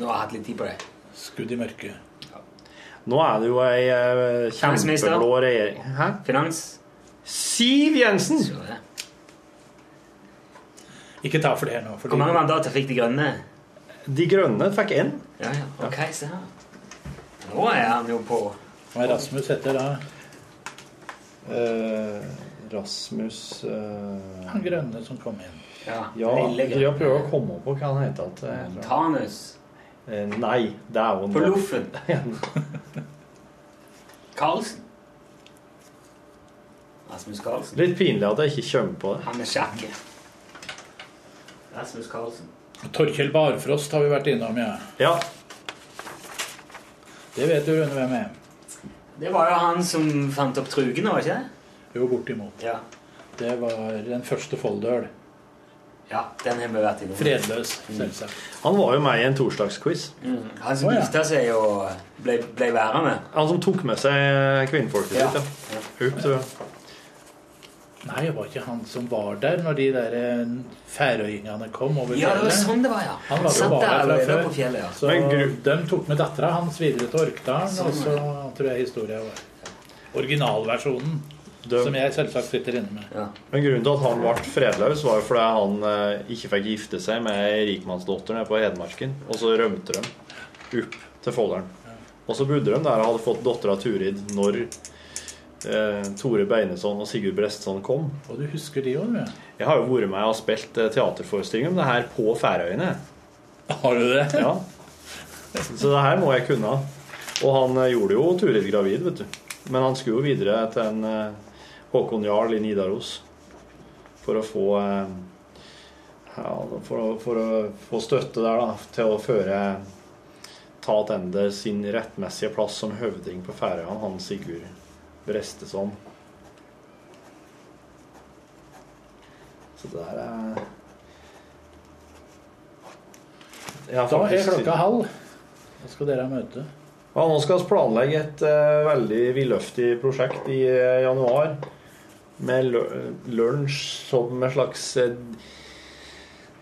[SPEAKER 2] Nå har jeg hatt litt tid på det.
[SPEAKER 8] Skudd i mørket.
[SPEAKER 3] Nå er det jo ei eh,
[SPEAKER 2] Finansminister.
[SPEAKER 3] kjempeblå regjering. Hæ?
[SPEAKER 2] Finans?
[SPEAKER 3] Siv Jensen!
[SPEAKER 2] Så det.
[SPEAKER 8] Ikke ta flere nå. Fordi
[SPEAKER 2] Hvor mange mandater fikk De grønne?
[SPEAKER 3] De grønne fikk én.
[SPEAKER 2] Ja, ja, ok, se her. Nå er han jo på
[SPEAKER 8] Hva er Rasmus heter da?
[SPEAKER 3] Eh, Rasmus eh,
[SPEAKER 8] Han grønne som kom inn.
[SPEAKER 2] Ja,
[SPEAKER 3] Ja,
[SPEAKER 2] lille
[SPEAKER 3] jeg
[SPEAKER 2] grønne.
[SPEAKER 3] prøver å komme på hva han heter. At, eh,
[SPEAKER 2] Tanus.
[SPEAKER 3] eh, nei, det er jo
[SPEAKER 2] På Loffen. Karlsen. Rasmus Karlsen.
[SPEAKER 3] Litt pinlig at jeg ikke kommer på det.
[SPEAKER 2] Han er kjekk. Rasmus Karlsen.
[SPEAKER 8] Torkjell Barfrost har vi vært innom, ja.
[SPEAKER 3] Ja,
[SPEAKER 8] Det vet du, Rune, hvem er.
[SPEAKER 2] Det var jo han som fant opp trugene, var det ikke det?
[SPEAKER 8] Jo, bortimot.
[SPEAKER 2] Ja.
[SPEAKER 8] Det var den første Folldøl.
[SPEAKER 2] ja den har vi vært innom.
[SPEAKER 8] Fredløs, selvsagt.
[SPEAKER 3] Han var jo med i en torsdagsquiz.
[SPEAKER 2] Mm. Han som
[SPEAKER 8] Å, ja.
[SPEAKER 2] gifta seg og ble, ble værende.
[SPEAKER 3] Han som tok med seg kvinnfolket
[SPEAKER 2] Ja.
[SPEAKER 3] sitt. Ja. Hup, du.
[SPEAKER 8] Nei, det var ikke han som var der når de der eh, færøyingene kom over
[SPEAKER 2] Ja, det var sånn det var, ja.
[SPEAKER 8] Han var jo
[SPEAKER 2] satt
[SPEAKER 8] bare
[SPEAKER 2] der
[SPEAKER 8] der fra
[SPEAKER 2] alene
[SPEAKER 8] før.
[SPEAKER 2] på fjellet, ja. Sånn,
[SPEAKER 8] Så
[SPEAKER 3] Men gru-
[SPEAKER 8] de tok med dattera hans videre til Orkdalen, og så tror jeg historia var originalversjonen.
[SPEAKER 3] De-
[SPEAKER 8] Som jeg selvsagt sitter inne med.
[SPEAKER 3] Men grunnen til at han ble fredløs, var jo fordi han eh, ikke fikk gifte seg med ei rikmannsdatter nede på Hedmarken. Og så rømte de opp til Folleren. Og så bodde de der og hadde fått dattera Turid når eh, Tore Beineson og Sigurd Brestson kom.
[SPEAKER 8] Og du husker de òg, du?
[SPEAKER 3] Jeg har jo vært med og spilt eh, teaterforestilling om det her på Færøyene.
[SPEAKER 8] Har du det?
[SPEAKER 3] Ja. Så det her må jeg kunne. Og han eh, gjorde jo Turid gravid, vet du. Men han skulle jo videre til en eh, Håkon Jarl i Nidaros for å få eh, ja, for, å, for å få støtte der, da, til å føre ta tilbake sin rettmessige plass som høvding på Færøyene, han Sigurd Bresteson. Så det her er Jeg har
[SPEAKER 8] Da er
[SPEAKER 3] faktisk-
[SPEAKER 8] klokka halv. Da skal dere ha møte.
[SPEAKER 3] ja, nå skal vi planlegge et eh, veldig villøftig prosjekt i eh, januar. Med lu- lunsj som en slags eh,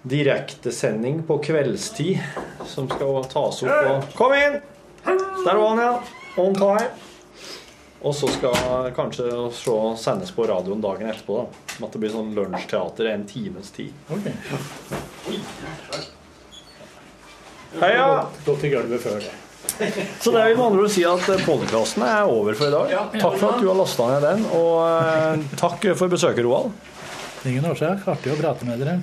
[SPEAKER 3] direktesending på kveldstid. Som skal tas opp på Kom inn! Der var han, ja. On time. Og så skal kanskje se sendes på radioen dagen etterpå. da. At det blir sånn lunsjteater en times tid.
[SPEAKER 8] Ok.
[SPEAKER 3] Heia!
[SPEAKER 8] Gått i gulvet før det.
[SPEAKER 3] Så det vil med andre ord si at podkasten er over for i dag. Takk for at du har lasta ned den, og eh, takk for besøket, Roald.
[SPEAKER 8] Ingen årsak. Artig å prate med dere.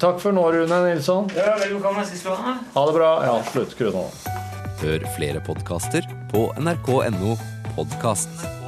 [SPEAKER 3] Takk for nå, Rune Nilsson.
[SPEAKER 2] Ja, velkommen til Svaha.
[SPEAKER 3] Ha det bra. Ja, slutt. Skru av nå.
[SPEAKER 5] Hør flere podkaster på nrk.no podkast.